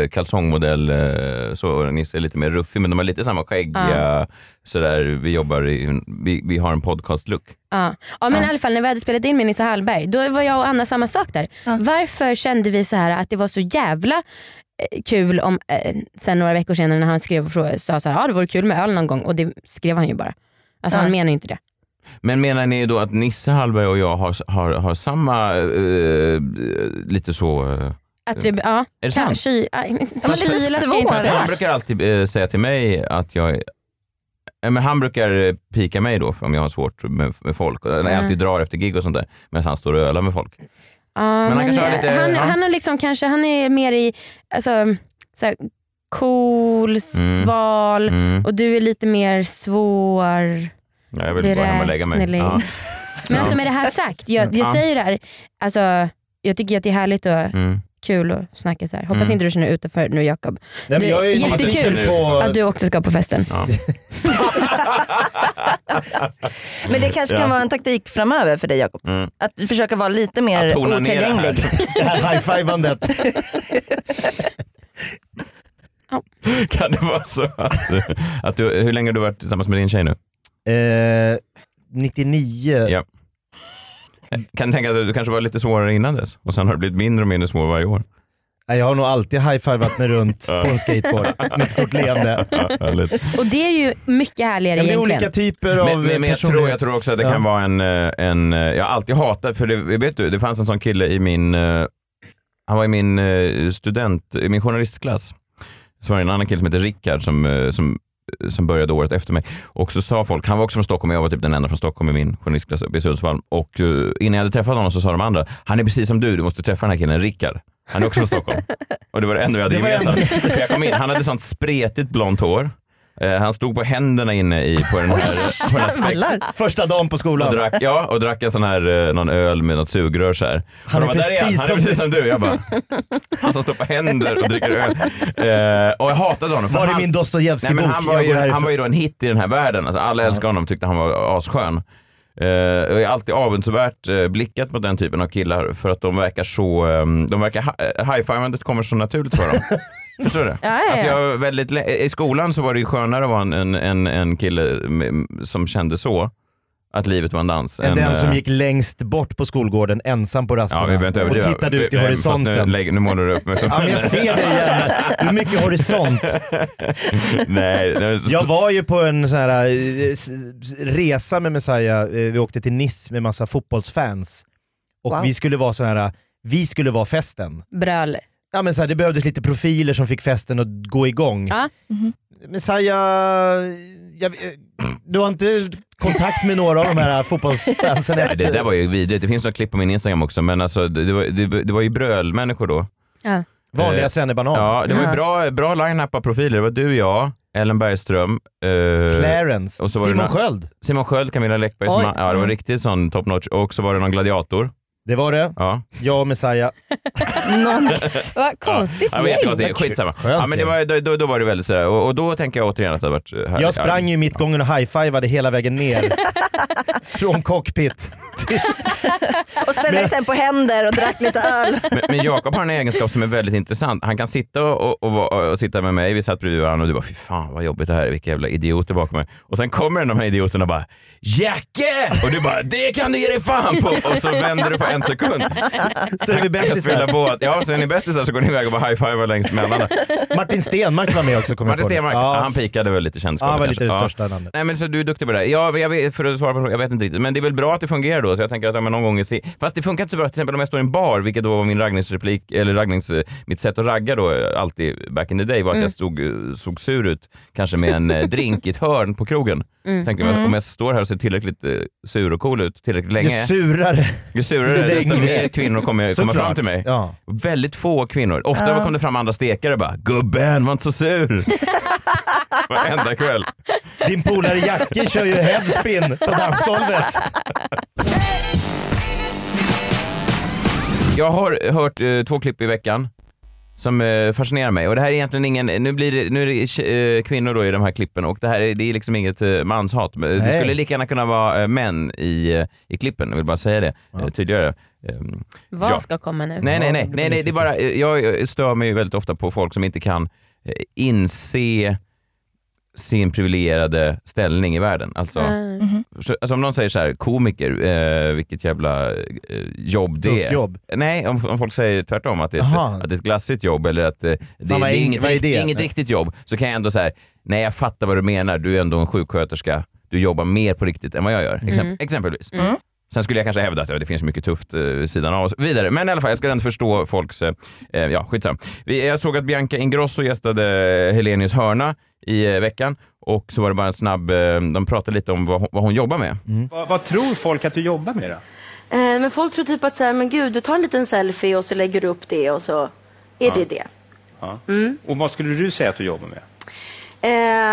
eh, kalsongmodell, eh, så och Nisse är lite mer ruffig, men de har lite samma skäggiga, sådär, vi jobbar i, en- vi, vi har en podcast-look.
Ja. Ja, men i alla fall när vi hade spelat in med Nissa Hallberg då var jag och Anna samma sak där. Varför kände vi så här att det var så jävla eh, kul om eh, sen några veckor senare när han skrev och frågade, sa så här, ah, det vore kul med öl någon gång och det skrev han ju bara. Alltså
Ja.
han menar ju inte det.
Men menar ni då att Nisse Hallberg och jag har, har, har samma, eh, lite så... eh,
Att det, ja,
Är det sant?
Ky, ja,
lite
kyla ska jag
svår.
inte
Han
säga.
brukar alltid eh, säga till mig att jag är- Eh, men han brukar eh, pika mig då för om jag har svårt med, med folk. Och När jag
Mm.
alltid drar efter gig och sånt där. Medan han står och ölar med folk.
Ja,
Men han kanske har
eh,
lite-
han,
ja.
han har liksom kanske, han är mer i alltså, så här, cool, s-
Mm.
sval
Mm.
och du är lite mer svår.
Ja, jag vill bara hem och lägga mig.
Beräknelig.
Ja.
Men alltså med det här sagt, jag, jag
Ja.
säger det här, alltså, jag tycker att det är härligt och
Mm. kul
kul att snacka så här. Hoppas
Mm.
inte du känner dig utanför nu Jakob.
Nej, men jag är
Jättekul.
nyfiken på...
Att du också ska på festen.
Ja.
Men det kanske kan vara en taktik framöver för dig Jakob.
Mm.
Att försöka vara lite mer
Att tona ner det här.
otillgänglig.
det här high-fivandet.
Kan det vara så att, att du, hur länge har du varit tillsammans med din tjej nu?
Eh, 99.
Ja. Kan du tänka att du kanske var lite svårare innan dess? Och sen har det blivit mindre och mindre svår varje år.
Nej, Jag har nog alltid high-fivat mig runt på en skateboard med ett stort leende.
Härligt.
Och det är ju mycket härligare
Ja, men Det är
egentligen.
olika typer av
Men, men, men jag, tror, jag tror också att det kan
personlighets-
vara en, eh, en... eh, Jag har alltid hatat, för det, vet du, det fanns en sån kille i min... eh, Han var i min eh, student, i min journalistklass. Så var det en annan kille som hette Rickard som, eh, som, som började året efter mig. Och så sa folk, han var också från Stockholm, jag var typ den enda från Stockholm i min journalistklass uppe i Sundsvall. Och eh, innan jag hade träffat honom så sa de andra, han är precis som du, du måste träffa den här killen Rickard. Han är också från Stockholm. Och det var det enda vi hade
Det var det
gemensamt. För jag kom in, han hade sånt spretigt blont hår. Eh, Han stod på händerna inne i, på den här, på den här spex,
Ja. Första dagen på
och
skolan.
drack, ja, och drack en sån här, eh, någon öl med något sugrör så här.
Han
Och
är
de bara, "Där
precis
han,
som
han är precis som du. Jag bara, han som står på händer och dricker öl. Eh, och jag hatade honom. för
Var är
han,
min
nej, men
Dostojevskij-bok?
han, var
Jag
ju,
går
han
härifrån.
var ju då en hit i den här världen. Alltså, alla älskade honom tyckte han var asskön. Eh, jag har alltid avundsvärt eh, blickat mot den typen av killar för att de verkar så, eh, de verkar, hi- high-fivandet kommer så naturligt för dem. Förstår du?
Ja, ja,
Att
ja.
jag var väldigt, lä- I skolan så var det ju skönare att vara en, en, en, en kille med- som kände så, att livet var en dans.
Än
än,
den som
eh,
gick längst bort på skolgården ensam på
Ja, vi
rasterna
behöver inte
och
överdriva.
tittade ut
Vi-
i
Fast
horisonten.
nu, lägg- nu målar du upp mig som
Ja, men jag ser det igen. Det är mycket horisont.
Nej, det är så-
Jag var ju på en sån här eh, s- s- resa med Messiah. Eh, Vi åkte till Nice med massa fotbollsfans. Och
Wow.
vi skulle vara sån här, eh, vi skulle vara festen.
Bröl.
Ja, men så här, det behövdes lite profiler som fick festen att gå igång.
Ja.
Messiah, jag, eh, du har inte kontakt med några av de här fotbollsfansen?
Nej, det där var ju vidrigt. Det finns några klipp på min Instagram också, men alltså, det, det, var, det, det var ju brölmänniskor då.
Ja.
Vanliga svennebanan.
Eh, Ja, det var ju
Ja.
bra, bra line-up av profiler. Det var du, jag, Ellen Bergström. eh,
Clarence.
och så var det
Simon
några-
Sköld.
Simon Sköld, Camilla Läckberg. Som
Oj.
man, ja,
Mm.
det var riktigt sån top notch. Och så var det någon gladiator.
Det var det.
Ja.
Jag och Messiah.
Någon,
Vad konstigt
Ja, men
gäng.
jättegott, det är skitsamma.
Skönt
Ja, men det
ju.
var, då, då, då var det väldigt sådär, och, och då tänker jag återigen att det har varit härligt.
Jag sprang ju i mittgången och high-fivade hela vägen ner. Från cockpit.
och ställde sig sen på händer och drack lite öl.
Men, men Jakob har en egenskap som är väldigt intressant. Han kan sitta och, och, och, och sitta med mig, vi satt bredvid varandra och du bara fy fan vad jobbigt det här är, vilka jävla idioter bakom mig. Och sen kommer de här idioterna och bara Jacke! Och du bara det kan du ge dig fan på! Och så vänder du på en sekund.
Så är vi
Jag spelar
bästisar.
på att, ja så är ni bästisar så går ni iväg och bara high-fivar längs mellan.
Martin Stenmark var med också kommer jag
Martin
på nu.
Stenmarck,
Ja.
han pikade väl lite kändes
Ja, han var
kanske.
lite det största namnet.
Nej men så du är duktig på det där. Ja, jag vet, för att svara på frågan, jag vet inte riktigt. Men det är väl bra att det fungerar då, så jag tänker att om jag någon gång ser... Fast det funkar inte så bra, till exempel om jag står i en bar, vilket då var min raggningsreplik, eller raggnings... eh, Mitt sätt att ragga då, eh, alltid back in the day, var att jag stod, eh, såg sur ut, kanske med en eh, drink i ett hörn på krogen. Tänkte jag, om jag står här och ser tillräckligt eh, sur och cool ut tillräckligt länge,
Ju surare.
ju surare, desto
längre.
mer kvinnor kommer komma
Såklart.
fram till mig.
Ja.
Väldigt få kvinnor. Ofta kom det fram andra stekare och bara “gubben, var inte så sur”. Varenda kväll.
Din polare Jacke kör ju headspin på dansgolvet.
Jag har hört eh, två klipp i veckan som eh, fascinerar mig och det här är egentligen ingen, nu, blir det, nu är det tje- eh, kvinnor då i de här klippen och det här är, det är liksom inget eh, manshat. Men Det
Nej.
skulle lika gärna kunna vara eh, män i, eh, i klippen, jag vill bara säga det eh, tydligare. Ehm,
Vad
Ja.
ska komma nu?
Nej, nej, nej. nej, nej det är bara, eh, jag eh, stör mig ju väldigt ofta på folk som inte kan eh, inse sin privilegierade ställning i världen. Alltså, så, alltså om någon säger så här, komiker, eh, vilket jävla eh, jobb det
Tufft
är.
jobb.
Nej, om, om folk säger tvärtom, att det, är
Aha.
ett, att det är ett glassigt jobb eller att eh, det,
vad
det är
är-
inget,
vad är det?
rikt- inget
Nej.
riktigt jobb, så kan jag ändå säga, nej jag fattar vad du menar, du är ändå en sjuksköterska, du jobbar mer på riktigt än vad jag gör, exemp-
Mm.
exempelvis. Sen skulle jag kanske hävda att ja, det finns mycket tufft eh, vid sidan av oss. Vidare. Men i alla fall, jag ska ändå förstå folks... Eh, eh, ja, skitsamma. Vi, jag såg att Bianca Ingrosso gästade Helenius hörna i eh, veckan och så var det bara en snabb... Eh, de pratade lite om vad, hon- vad hon jobbar med.
Vad, vad tror folk att du jobbar med då?
Eh, Men folk tror typ att så här, men gud, du tar en liten selfie och så lägger du upp det och så är det det.
Ja. Och vad skulle du säga att du jobbar med?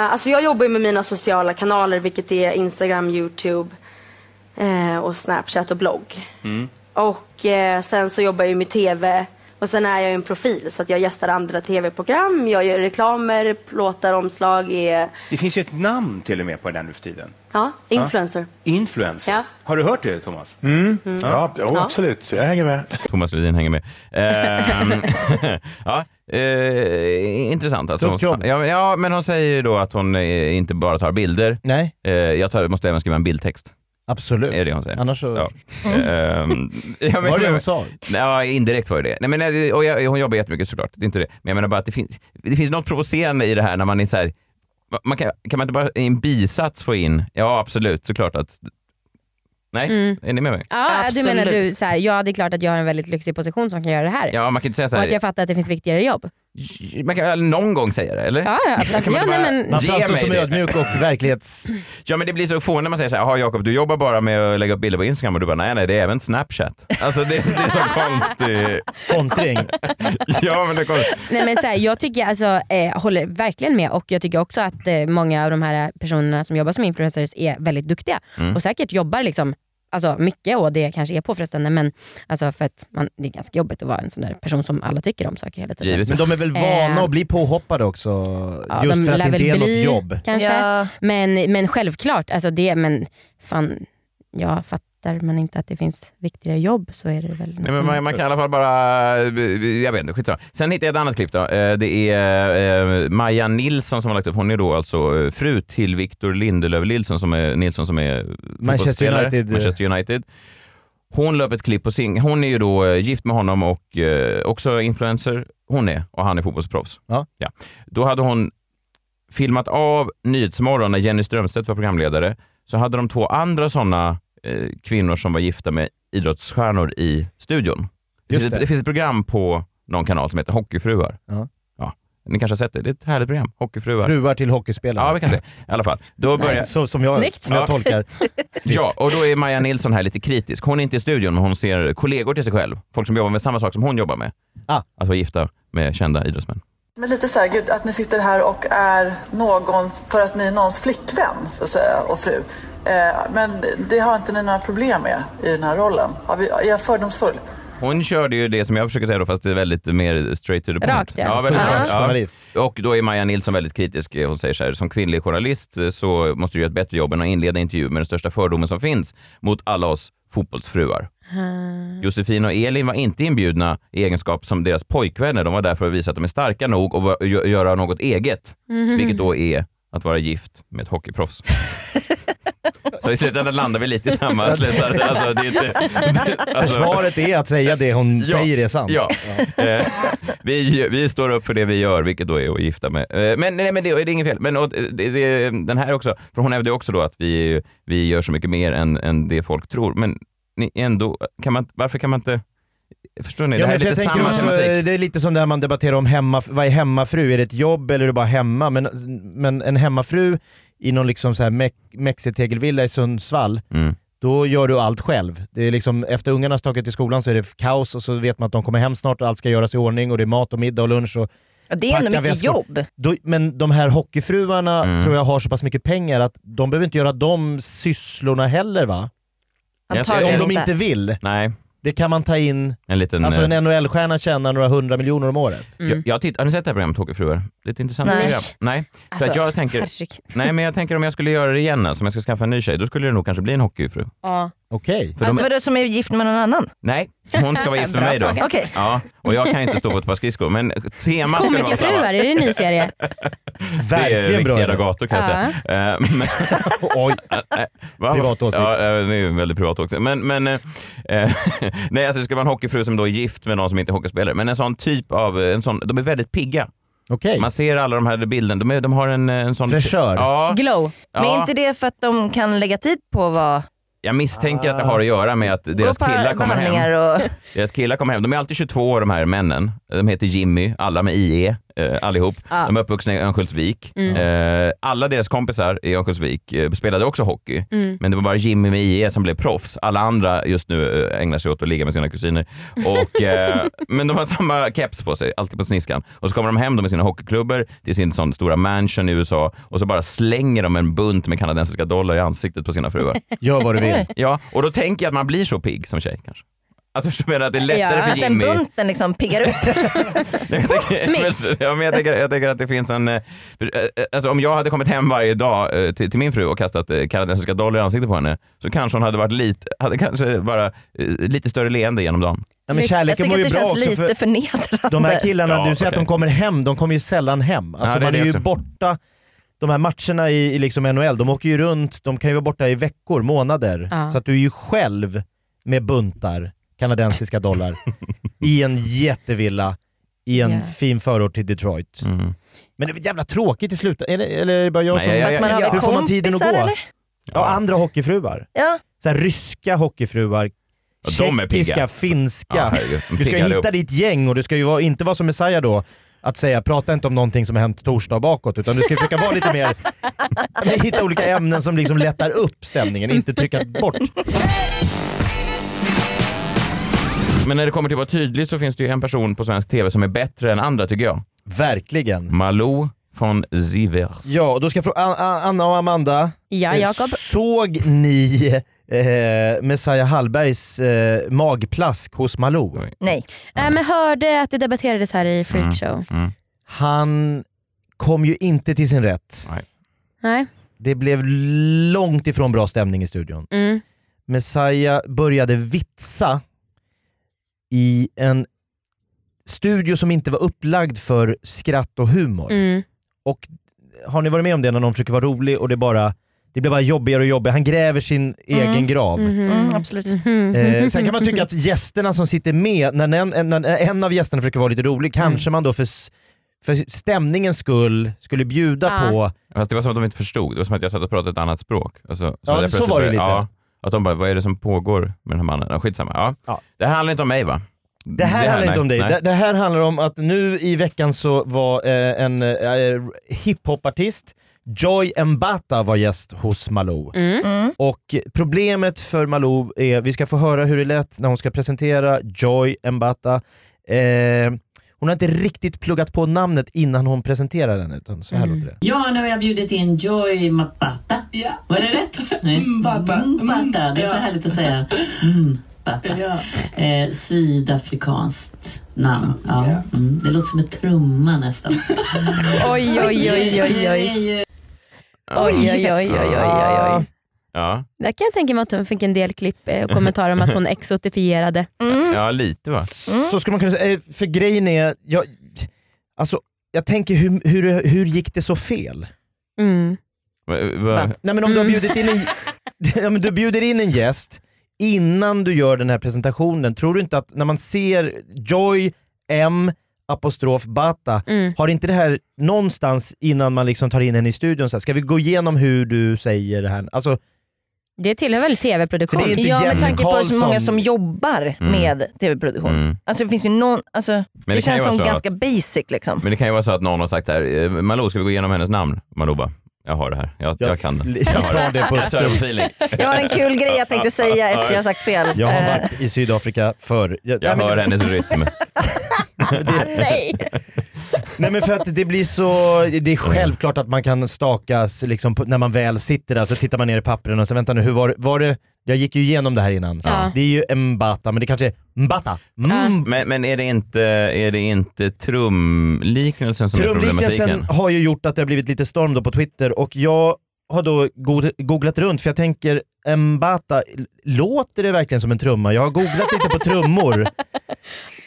Eh, alltså jag jobbar ju med mina sociala kanaler, vilket är Instagram, Youtube eh, och Snapchat och blogg. Och eh, sen så jobbar jag ju med TV och sen är jag ju en profil så att jag gästar andra TV-program, jag gör reklamer, låtar, omslag, är
Det finns ju ett namn till och med på den nu för tiden.
ja, influencer.
Influencer.
Ja.
Har du hört det Thomas?
Mm.
Mm.
Ja, jo, absolut. Jag hänger med.
Thomas Ledin hänger med. Ehm, ja, eh, intressant. Alltså,
Tufft
hon,
jobb.
ja, men- ja, men hon säger ju då att hon eh, inte bara tar bilder.
Nej,
Eh, jag tar, måste även skriva en bildtext. Är
absolut.
det hon säger.
Annars så...
Ja. Ehm, ja, men-
Var det hon sa?
Ja, indirekt var det det. Nej, men, eh, och jag, hon jobbar jättemycket såklart, det är inte det. Men jag menar bara att det finns, det finns något provocerande i det här när man är så här, va- man kan, kan man inte bara i en bisats få in, ja absolut, såklart att... Nej, är ni med mig?
Mm. Ja, du menar
Absolut.
du så här, ja det är klart att jag har en väldigt lyxig position som kan göra det här.
Ja, man kan inte säga så
Och
här,
att jag fattar att det finns viktigare jobb.
man kan väl någon gång säga det, eller?
Ja, ja, absolut.
man
ja,
bara-
nej, men,
Man
Ge
framstår
mig
som
det.
ödmjuk och verklighets...
Ja men det blir så fånigt när man säger så här, "Jaha, Jakob du jobbar bara med att lägga upp bilder på Instagram och du bara nej nej det är även Snapchat. Alltså det, det är så konstig...
kontring.
Ja men det är konstigt.
nej, men så här, jag tycker alltså, eh, håller verkligen med och jag tycker också att eh, många av de här personerna som jobbar som influencers är väldigt duktiga
Mm.
och säkert jobbar liksom Alltså mycket och det kanske är påfrestande men alltså för att man, det är ganska jobbigt att vara en sån där person som alla tycker om saker hela tiden.
Givetvis.
Men de är väl vana att bli påhoppade också?
Eh. Ja,
just
de
för att
lär
det inte
väl
är
bli,
något jobb.
Kanske.
Ja.
Men, men självklart, alltså det, men fan, jag fattar man inte att det finns viktigare jobb så är det väl
Nej,
något
men
som-
man, man kan i alla fall bara... eh, Jag vet inte, skitsamma. Sen hittade jag ett annat klipp då. Eh, Det är eh, Maja Nilsson som har lagt upp. Hon är då alltså eh, fru till Victor Lindelöf Nilsson som är, Nilsson som är fotbollsspelare.
United.
Manchester United. Hon la upp ett klipp på sin... Hon är ju då eh, gift med honom och eh, också influencer. Hon är, och han är fotbollsproffs.
Ja.
Ja. Då hade hon filmat av Nyhetsmorgon när Jenny Strömstedt var programledare. Så hade de två andra sådana eh, kvinnor som var gifta med idrottsstjärnor i studion. Det,
Just
finns,
det.
Ett, det finns ett program på någon kanal som heter Hockeyfruar.
Ja.
Ja. Ni kanske har sett det? Det är ett härligt program. Hockeyfruar.
Fruar till hockeyspelare.
Ja, vi kan se. I alla fall. Då börjar,
Så, som jag,
Snyggt.
som jag
Ja.
tolkar.
Ja, och då är Maja Nilsson här lite kritisk. Hon är inte i studion, men hon ser kollegor till sig själv. Folk som jobbar med samma sak som hon jobbar med.
Ah.
Att vara gifta med kända idrottsmän.
Men lite så här, gud, att ni sitter här och är någon för att ni är någons flickvän så att säga, och fru. Eh, men det har inte ni några problem med i den här rollen? Har vi, är jag fördomsfull?
Hon körde ju det som jag försöker säga då, fast det är väldigt mer straight to the point.
Rakt, ja.
väldigt
Ja.
rakt.
Journalist.
Och då är Maja Nilsson väldigt kritisk. eh, Hon säger så här, som kvinnlig journalist eh, så måste du göra ett bättre jobb än att inleda intervjuer med den största fördomen som finns mot alla oss fotbollsfruar.
Ah,
Mm.
Josefin och Elin var inte inbjudna i egenskap som deras pojkvänner. De var där för att visa att de är starka nog och va- gö- göra något eget,
Mhm.
vilket då är att vara gift med ett hockeyproffs. Så i slutändan landar vi lite i samma slutsats. Alltså, det är inte, alltså-
Försvaret är att säga det hon säger är sant.
Ja. Eh, vi, vi står upp för det vi gör, vilket då är att gifta med. Eh, men nej, men det, det är inget fel. Men och, eh, det, det, den här också, för hon hävdade också då att vi, vi gör så mycket mer än, än det folk tror. Men ni ändå, kan man, varför kan man inte... Förstår ni?
Ja,
det här är
men för jag
lite
tänker
samma
också, eh,
tematik.
det är lite som det här man debatterar om, hemma, vad är hemmafru? Är det ett jobb eller är det bara hemma? Men, men en hemmafru i någon liksom så här mex, mexitegelvilla i Sundsvall,
Mm.
då gör du allt själv. Det är liksom, efter ungarna stakat till skolan så är det kaos och så vet man att de kommer hem snart och allt ska göras i ordning och det är mat och middag och lunch. Och
Ja, det är ändå
packa
mycket
väskor.
jobb.
Då, men de här hockeyfruarna
Mm.
tror jag har så pass mycket pengar att de behöver inte göra de sysslorna heller va?
Antagligen
Om de
inte.
inte vill.
Nej.
Det kan man ta in
En liten,
Alltså mm.
eh,
en NHL-stjärna tjänar några hundra miljoner om året.
Jag, jag titt, har ni sett det här programmet Hockeyfruar? Det är ett intressant
Nej.
program. Nej.
Alltså,
så att jag tänker,
herregud.
nej men jag tänker om jag skulle göra det igen, alltså, om jag ska skaffa en ny tjej, då skulle det nog kanske bli en hockeyfru.
Ja.
Okej.
För de-
Alltså vadå som är gift med någon annan?
Nej, hon ska vara gift med
Bra
mig då.
fråga. Okej.
Ja, och jag kan inte stå på ett par skridskor, men temat skulle vara samma.
Komikerfruar, är det en ny serie?
det är
Verkligen bra
riktiga
idé.
gator kan jag
Ja.
säga. Oj. privat åsikt. Ja, eh, det är en väldigt privat åsikt. Men, men, eh, eh, nej, alltså det ska vara en hockeyfru som då är gift med någon som inte är hockeyspelare. Men en sån typ av, en sån, de är väldigt pigga.
Man
ser alla de här bilderna, de, är, de har en, eh, en sån...
Fräschör.
Ja,
Glow. Men
Ja.
är inte det för att de kan lägga tid på vad...
jag misstänker att det har att göra med att deras
på
killar kommer
behandlingar
hem.
och-
Deras killar kommer hem. De är alltid 22 år de här männen. De heter Jimmy, alla med IE, eh, allihop.
Ja. Mm.
De är uppvuxna i Örnsköldsvik. Eh, alla deras kompisar i Örnsköldsvik eh, spelade också hockey.
Mm.
Men det var bara Jimmy med IE som blev proffs. Alla andra just nu eh, ägnar sig åt att ligga med sina kusiner. Och, eh, men de har samma keps på sig, alltid på sniskan. Och så kommer de hem då med sina hockeyklubbor till sin sån stora mansion i USA och så bara slänger de en bunt med kanadensiska dollar i ansiktet på sina fruar.
Gör vad du vill.
Ja, och då tänker jag att man blir så pigg som tjej kanske. Att förstå menar att det är lättare
ja,
för
att den
Jimmy.
bunten liksom piggar upp.
Men- ja, men jag, tänker, jag tänker att det finns en... eh, för- eh, Alltså, om jag hade kommit hem varje dag eh, till, till min fru och kastat eh, kanadensiska dollar i ansiktet på henne så kanske hon hade varit lite, hade kanske bara eh, lite större leende genom dagen.
Ja, men
jag
kärleken
tycker
mår
att
ju
det
bra
känns
också.
lite
För
förnedrande.
de här killarna,
Ja,
du säger att
okej.
de kommer hem, de kommer ju sällan hem. Alltså
Ja, det är
man
det
är ju
också.
borta. De här matcherna i, i liksom NHL, de åker ju runt, de kan ju vara borta i veckor, månader.
Ja.
Så att du är ju själv med buntar kanadensiska dollar i en jättevilla i en
Ja.
fin förort till Detroit. Men det är väl jävla tråkigt i slutet, eller, eller är det bara jag
Mm. Nej,
som...
jag- jag- Fast man har jag- väl
hur får man tiden att gå?
kompisar, eller?
Ja, andra hockeyfruar.
Ja.
Så här, ryska hockeyfruar,
Ja, de är pigga.
tjeckiska, finska.
Ja, herregud. De
du ska
piggar
hitta
upp.
ditt gäng och du ska ju vara, inte vara som Messiah då, att säga prata inte om någonting som har hänt torsdag och bakåt utan du ska försöka vara lite mer, men hitta olika ämnen som liksom lättar upp stämningen, inte trycka bort.
Men när det kommer till att vara tydlig så finns det ju en person på svensk TV som är bättre än andra tycker jag.
Verkligen.
Malou von Sivers.
Ja, och då ska jag fråga An- An- Anna och Amanda.
Ja,
Eh,
Jakob.
Såg ni eh, Messiah Hallbergs eh, magplask hos Malou?
Nej.
Nej Äh, men hörde att det debatterades här i
Mm.
Freakshow.
Han kom ju inte till sin rätt.
Nej.
Det blev långt ifrån bra stämning i studion.
Mm.
Messiah började vitsa i en studio som inte var upplagd för skratt och humor.
Mm.
Och har ni varit med om det när någon försöker vara rolig och det bara det blir bara jobbigare och jobbigare. Han gräver sin egen grav.
Mm, absolut.
Eh, sen kan man tycka att gästerna som sitter med, när en, en, när en av gästerna försöker vara lite rolig, kanske man då för, s- för stämningens skull skulle bjuda på
Fast det var som att de inte förstod. Det var som att jag satt och pratade ett annat språk. Alltså, så
Ja,
hade jag
så
plötsligt
var det
börjat-
lite.
Ja, att de bara, vad är det som pågår med den här mannen? Ja, skitsamma. Ja. Det här handlar inte om mig va?
Det här handlar inte om dig.
nej.
Det, det här handlar om att nu i veckan så var eh, en eh, hiphopartist, Joy Mbata var gäst hos Malou.
Mm. Mm.
Och problemet för Malou är, vi ska få höra hur det lät när hon ska presentera Joy Mbata. Eh, Hon har inte riktigt pluggat på namnet innan hon presenterar den, utan så här
Mm.
låter det.
Ja, nu har jag bjudit in Joy Mapata. Ja. Mm, Var det rätt? Mbata. Mbata, det är så härligt att säga. Mbata. Eh, sydafrikanskt namn. Ja. Mm. Det låter som en trumma nästan.
Oj, oj, oj, oj, oj. Oj, oj, oj, oj, oj, oj. oj.
Ja.
Där kan jag tänka mig att hon fick en del klipp eh, och kommentarer om att hon exotifierade.
ja, lite va?
Så skulle man kunna säga, eh, för grejen är, jag, alltså, jag tänker hur, hur, hur gick det så fel?
Mm.
Nej men om du har bjudit in en, ja, men du bjuder in en gäst innan du gör den här presentationen, tror du inte att när man ser Joy M apostrof Bata,
Mm.
har inte det här någonstans innan man liksom tar in henne i studion, så här, ska vi gå igenom hur du säger det här? Alltså,
Det tillhör väl tv-produktion?
För det är inte
ja,
Jenny
med tanke på
Karlsson.
så många som jobbar
Mm.
med tv-produktion.
Mm.
Alltså det finns ju någon, alltså, det,
det kan ju
känns
vara
som
så
ganska
att-
basic liksom.
Men det kan ju vara så att någon har sagt så här, eh, Malou ska vi gå igenom hennes namn? Malou bara, jag har det här, jag, jag, kan det.
jag
har
tar det på
Jag tar
uppstuds.
feeling.
Jag har en kul grej jag tänkte säga efter jag har sagt fel.
jag har
Eh,
varit i Sydafrika förr. Jag,
Jag
nej,
hör
men,
hennes rytm.
Nej.
nej men för att det blir så, det är självklart att man kan stakas liksom, på- när man väl sitter där så tittar man ner i pappren och så vänta nu, hur var, det- var det, jag gick ju igenom det här innan.
Ja.
Det är ju Mbata men det kanske är Mbata. Mm.
Men, men är, det inte, är det inte trumliknelsen som är problematiken?
Trumliknelsen har ju gjort att det har blivit lite storm då på Twitter och jag har då go- googlat runt för jag tänker Mbata, l- låter det verkligen som en trumma? Jag har googlat lite på trummor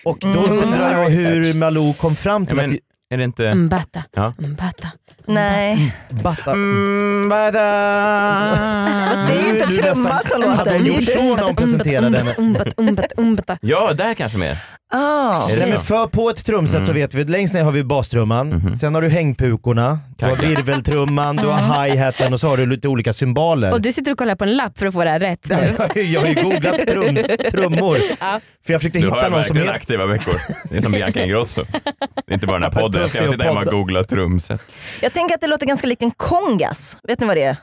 och då
Mm.
undrar jag hur Malou kom fram
Ja,
till
men, är det inte...
Mbata,
Ja.
mbata.
Nej,
att Bata...
Mm,
Ah.
fast det är ju inte en
Nu
trumma
nästan-
som
Hade
låter.
hon gjort så när
Umbata,
hon presenterade henne?
umbata, umbata, umbata, umbata.
Ja, där kanske mer.
Ah.
Är det
Nej, men
så?
för på ett trumset så vet vi, längst ner har vi bastrumman, sen har du hängpukorna, du har virveltrumman, du har hi-haten och så har du lite olika cymbaler.
Och du sitter och kollar på en lapp för att få det här rätt nu.
jag har ju googlat trums, trummor.
Ja.
För jag försökte
Du
hitta
har
någon som
verkligen
heter...
aktiva veckor. Det är som Bianca Ingrosso. Det är inte bara den här
Vad
podden. Jag
duktig
ska
att
sitta hemma och
podda.
googla trumset.
Jag tänker att det låter ganska likt en kongas. Vet ni vad det är?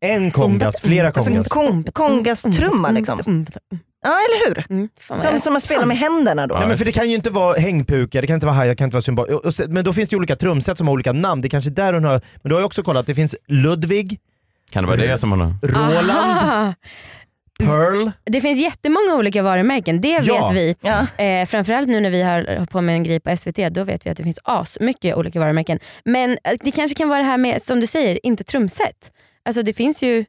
En kongas, flera
Alltså en
kongas.
kon- kongastrumma liksom.
Umbata.
Ja, eller hur?
Mm, fan vad
Som,
jag-
som man spelar med händerna då.
Nej, men för det kan ju inte vara hängpuka, det kan inte vara hajar, det kan inte vara symbol. Och- och se- Men då finns det ju olika trumset som har olika namn. Det är kanske där hon har... Men du har ju också kollat, det finns Ludvig,
Kan det vara det som hon har...
Roland,
Aha.
Pearl.
Ah, Det finns jättemånga olika varumärken, det
Ja.
vet vi.
Ja.
Eh, framförallt nu när vi har hållit på med en grej på SVT, då vet vi att det finns as mycket olika varumärken. Men eh, det kanske kan vara det här med, som du säger, inte trumset. Alltså det finns ju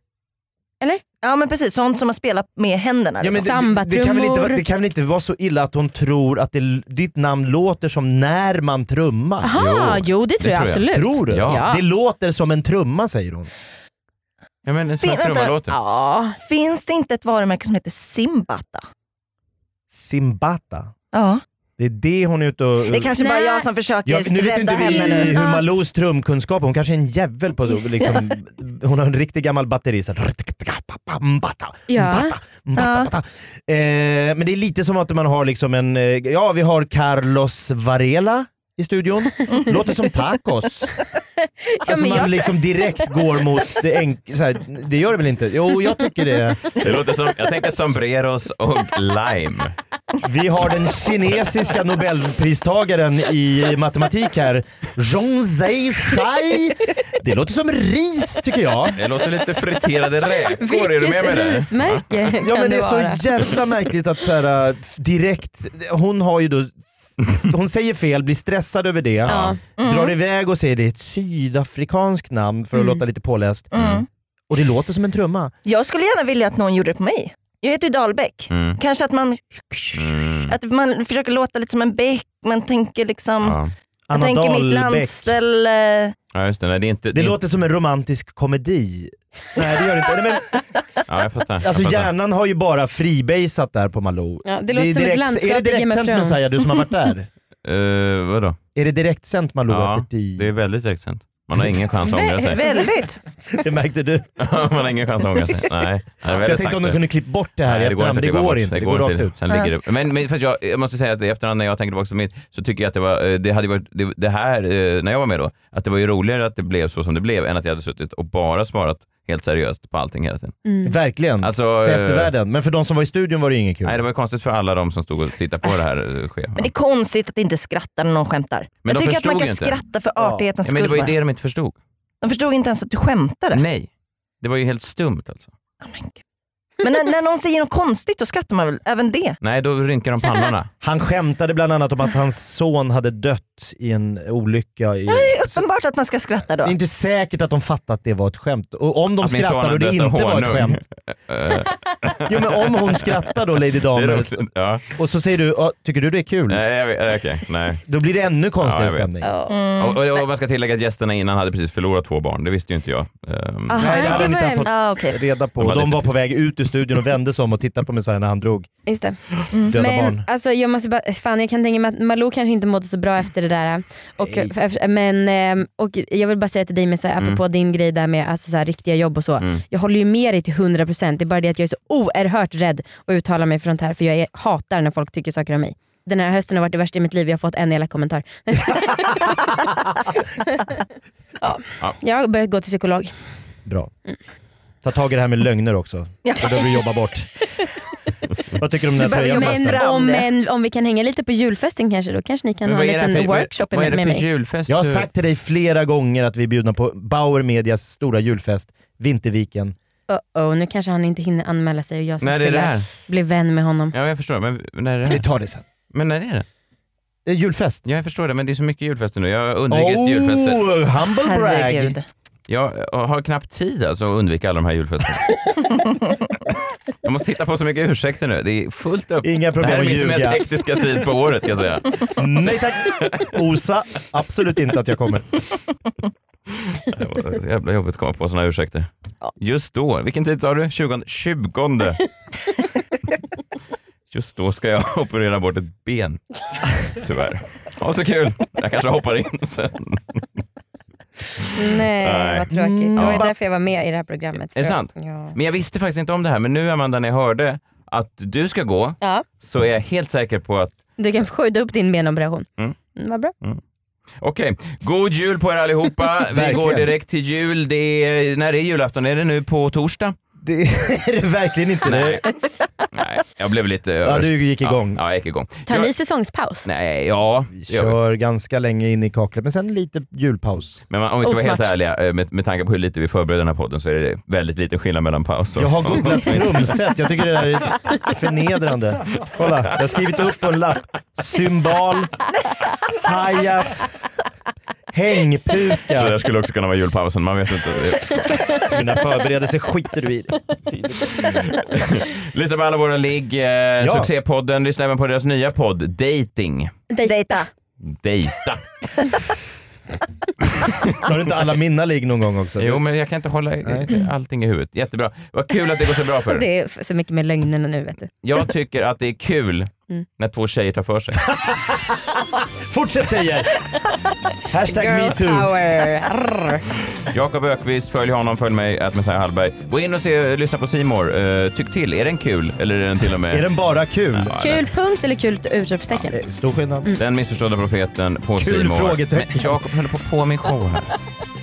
ja men precis, sånt som man spelar med händerna.
Ja, men
liksom.
det, det, det, kan väl inte vara,
Sambatrummor.
det kan väl inte vara så illa att hon tror att det, ditt namn låter som när man trummar?
Aha, jo, det tror jag, absolut.
Tror du?
Ja.
Det låter som en trumma säger hon.
Ja, men som en
Fin- vänta.
trumma låter.
Ja.
Finns det inte ett varumärke som heter Simbata?
Simbata.
Ja.
Det är det hon är ute och...
Det är
Mm.
kanske bara
Nej.
jag som försöker
Jag, nu vet
rädda
inte vi
henne nu.
hur Malous trumkunskap, hon kanske är en jävel på
Just
liksom, Hon har en riktig gammal batteri. Så här, mbata,
Ja.
mbata, mbata, mbata. Eh, men det är lite som att man har liksom en, eh, ja vi har Carlos Varela i studion. Låter som tacos. Alltså
men
man
jag-
liksom direkt går mot det enk- så här, Det gör det väl inte? Jo, jag tycker det.
Det låter som, jag tänker sombreros och lime.
Vi har den kinesiska nobelpristagaren i matematik här, Zhong Zai-Shai. Det låter som ris tycker jag.
Det låter lite friterade räkor, är du med mig
Vilket
där?
rismärke kan
Ja men det är
vara?
så jävla märkligt att så här, f- direkt, hon har ju då hon säger fel, blir stressad över det, drar iväg och säger det är ett sydafrikanskt namn för att låta lite påläst. Mm. Och det låter som en trumma.
Jag skulle gärna vilja att någon gjorde det på mig. Jag heter ju Dahlbäck.
Mm.
Kanske att man, att man försöker låta lite som en bäck, man tänker liksom,
Ja.
jag
Anna
tänker mitt
Dahlbäck.
landställe.
ja, just det. Nej, det är inte...
Det
är-
låter som en romantisk komedi. Nej det gör det inte. Nej, men,
Ja, jag fattar.
alltså
jag fattar.
hjärnan har ju bara freebasat där på Malou.
Ja, det låter
är
som ett
direkt-
landskap
Är det
i Game of
direktsänt
Thrones.
Messiah, du som har varit där?
Eh, vadå?
Är det direktsänt Malou
Ja,
efter tio?
det är väldigt direktsänt. Man har ingen chans att ångra sig.
Väldigt.
Det märkte du.
Man har ingen chans att ångra sig. Nej, det är
Så jag
väldigt
tänkte om de
sagt.
kunde klippt bort det här i efterhand, det går inte. Det går rakt
inte.
ut. Äh.
Sen ligger det. Men, men fast jag, jag måste säga att i efterhand när jag tänker tillbaka på mitt så tycker jag att det var, eh, det hade ju varit, det, det här eh, när jag var med då, att det var ju roligare att det blev så som det blev än att jag hade suttit och bara svarat helt seriöst på allting hela tiden.
Mm.
Mm.
Verkligen.
Alltså,
för
eh,
eftervärlden. Men för de som var i studion var det inget kul.
Nej, det var ju konstigt för alla de som stod och tittade
Äh.
på det här eh, ske.
Men det är konstigt att inte skratta när någon skämtar.
Men
jag
de
tycker att man
förstod
kan
ju inte.
skratta för artighetens
ja, Men det
skull.
var ju
bara.
det de inte förstod.
De förstod inte ens att du skämtade.
Nej. Det var ju helt stumt alltså.
Men när, när någon säger något konstigt då skrattar man väl även det?
Nej, då rynkar de pannorna.
Han skämtade bland annat om att hans son hade dött i en olycka. I...
Ja, det är uppenbart att man ska skratta då.
Det är inte säkert att de fattat att det var ett skämt. Och om de
Att min son
skrattar och det
hade dött
inte
av
var ett
honung. Eh.
skämt. Jo men om hon skrattar då Lady
Det är
Damer
roligt, ja.
och så säger du, "Ja, tycker du det är kul?
Nej, jag vet, okej, nej.
Då blir det ännu
Ja,
konstigare
jag vet.
stämning. Mm.
Och, och, och man ska tillägga att gästerna innan hade precis förlorat två barn, det visste ju inte jag. Ehm,
Aha, Nej, det hade han inte fått reda på.
De var
De
lite-
var på väg ut ur studion och vände sig om och tittade på mig så här när han drog.
Just det.
Döda
men
barn.
alltså jag måste bara, fan jag kan tänka mig att Malou kanske inte mådde så bra efter det där. Och, f- men, ehm, och jag vill bara säga till dig, med, så här,
Mm.
apropå din grej där med alltså, så här, riktiga jobb och så. Jag håller ju med dig till 100%, det är bara det att jag är så oerhört rädd att uttala mig för sånt här för jag är, hatar när folk tycker saker om mig. Den här hösten har varit det värsta i mitt liv, jag har fått en elak kommentar. ja.
Ja.
Jag har börjat gå till psykolog.
Bra. Ta tag i det här med lögner också.
Ja.
Det behöver vi jobba bort. Vad tycker du om den här tröjan
Men
förresten?
om, en, om vi kan hänga lite på julfesten kanske, då kanske ni kan ha
Men vad
en
är det här
liten
för- vad-
workshop
vad är
med,
det
med
för
mig.
julfest?
Jag har sagt till dig flera gånger att vi är bjudna på Bauer Medias stora julfest, Vinterviken.
Oh, oh, nu kanske han inte hinner anmäla sig och jag som
När är det
skulle
här?
bli vän med honom.
Ja, jag förstår. Men när är det
Vi tar det sen.
Men när är det?
Eh, julfest.
Ja, jag förstår det, men det är så mycket julfester nu. Jag undviker oh, julfester.
humble brag. Herregud.
Jag har knappt tid alltså att undvika alla de här julfesterna. jag måste hitta på så mycket ursäkter nu. Det är fullt upp.
Inga problem
det här är
att
min
ljuga.
mest hektiska tid på året kan jag säga.
Nej tack! Osa, absolut inte att jag kommer.
Det var så jävla jobbigt att komma på såna här ursäkter. Just då, vilken tid sa du? 20? 20. Just då ska jag operera bort ett ben. Tyvärr. Ha så kul. Jag kanske hoppar in sen.
Nej,
Nej.
vad tråkigt. Det var ju
Ja.
därför jag var med i det här programmet.
Är det
För-
sant?
Ja.
Men jag visste faktiskt inte om det här, men nu Amanda när jag hörde att du ska gå
ja.
så är jag helt säker på att...
Du kan skjuta upp din benoperation.
Mm.
Mm, vad bra.
Okej, god jul på er allihopa. Vi går
Verkligen.
direkt till jul. Det är, när är julafton? Är det nu på torsdag?
Det är det verkligen inte.
Nej. Nej, jag blev lite...
Ja, du gick igång.
Ja, ja jag gick igång.
Tar
jag,
ni säsongspaus?
Nej, ja.
Vi kör ganska länge in i kaklet, men sen lite julpaus.
Men man- om vi ska vara
Osmart.
helt ärliga, eh, med, med tanke på hur lite vi förbereder den här podden så är det väldigt liten skillnad mellan paus och...
Jag har googlat trumset, jag tycker det där är förnedrande. Kolla, jag har skrivit upp på en lapp. Symbal, hi-hat,
Det där
hängpuka.
skulle också kunna vara julpausen, man vet inte.
Mina förberedelser skiter du i.
Lyssna på alla våra ligg, eh, Succépodden, lyssna även på deras nya podd, Dating.
Dejta.
Dejta.
Sa du inte alla mina ligg någon gång också?
Jo, men jag kan inte hålla allting i huvudet. Jättebra. Vad kul att det går så bra för er.
Det är f- så mycket med lögnerna nu vet du.
Jag tycker att det är kul
Mm.
när två tjejer tar för sig.
Fortsätt tjejer! Hashtag
Girl
metoo.
power. Arr.
Jakob Ökvist, följ honom, följ mig, att Messiah Hallberg. Gå in och se, lyssna på Simor. Uh, tyck till, är den kul? Eller är den till och med...
Är den bara kul? Eh,
Kul punkt eller kul utropstecken?
Stor skillnad.
Mm.
Den missförstådda profeten på
Kul
Simor.
frågetecken.
Men Jakob håller på på min show här.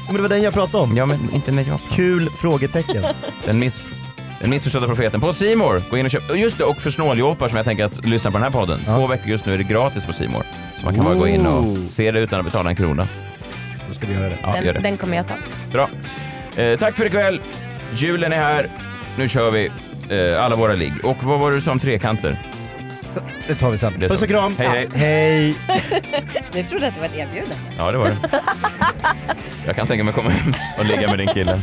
Men det var den jag pratade om.
Ja, men inte när jag...
Kul frågetecken.
Den, miss... den missförstådda profeten på Simor. Gå in och köp. Och Just det, och för snåljåpar som jag tänker att lyssna på den här podden. Två veckor just nu är det gratis på Simor. Så man kan bara gå in och se det utan att betala en krona.
Då ska vi göra det.
Ja, gör det.
Den, den kommer jag ta.
Bra. Eh, tack för ikväll. Julen är här. Nu kör vi eh, alla våra ligg. Och vad var det du sa om trekanter?
Det tar vi sen.
Det tar
Puss och
vi.
kram.
Hej, hej.
Hej.
Jag trodde att det var ett erbjudande.
Ja, det var det. Jag kan tänka mig att komma hem och ligga med din kille.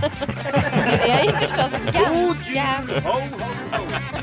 Jag är förstås ganska...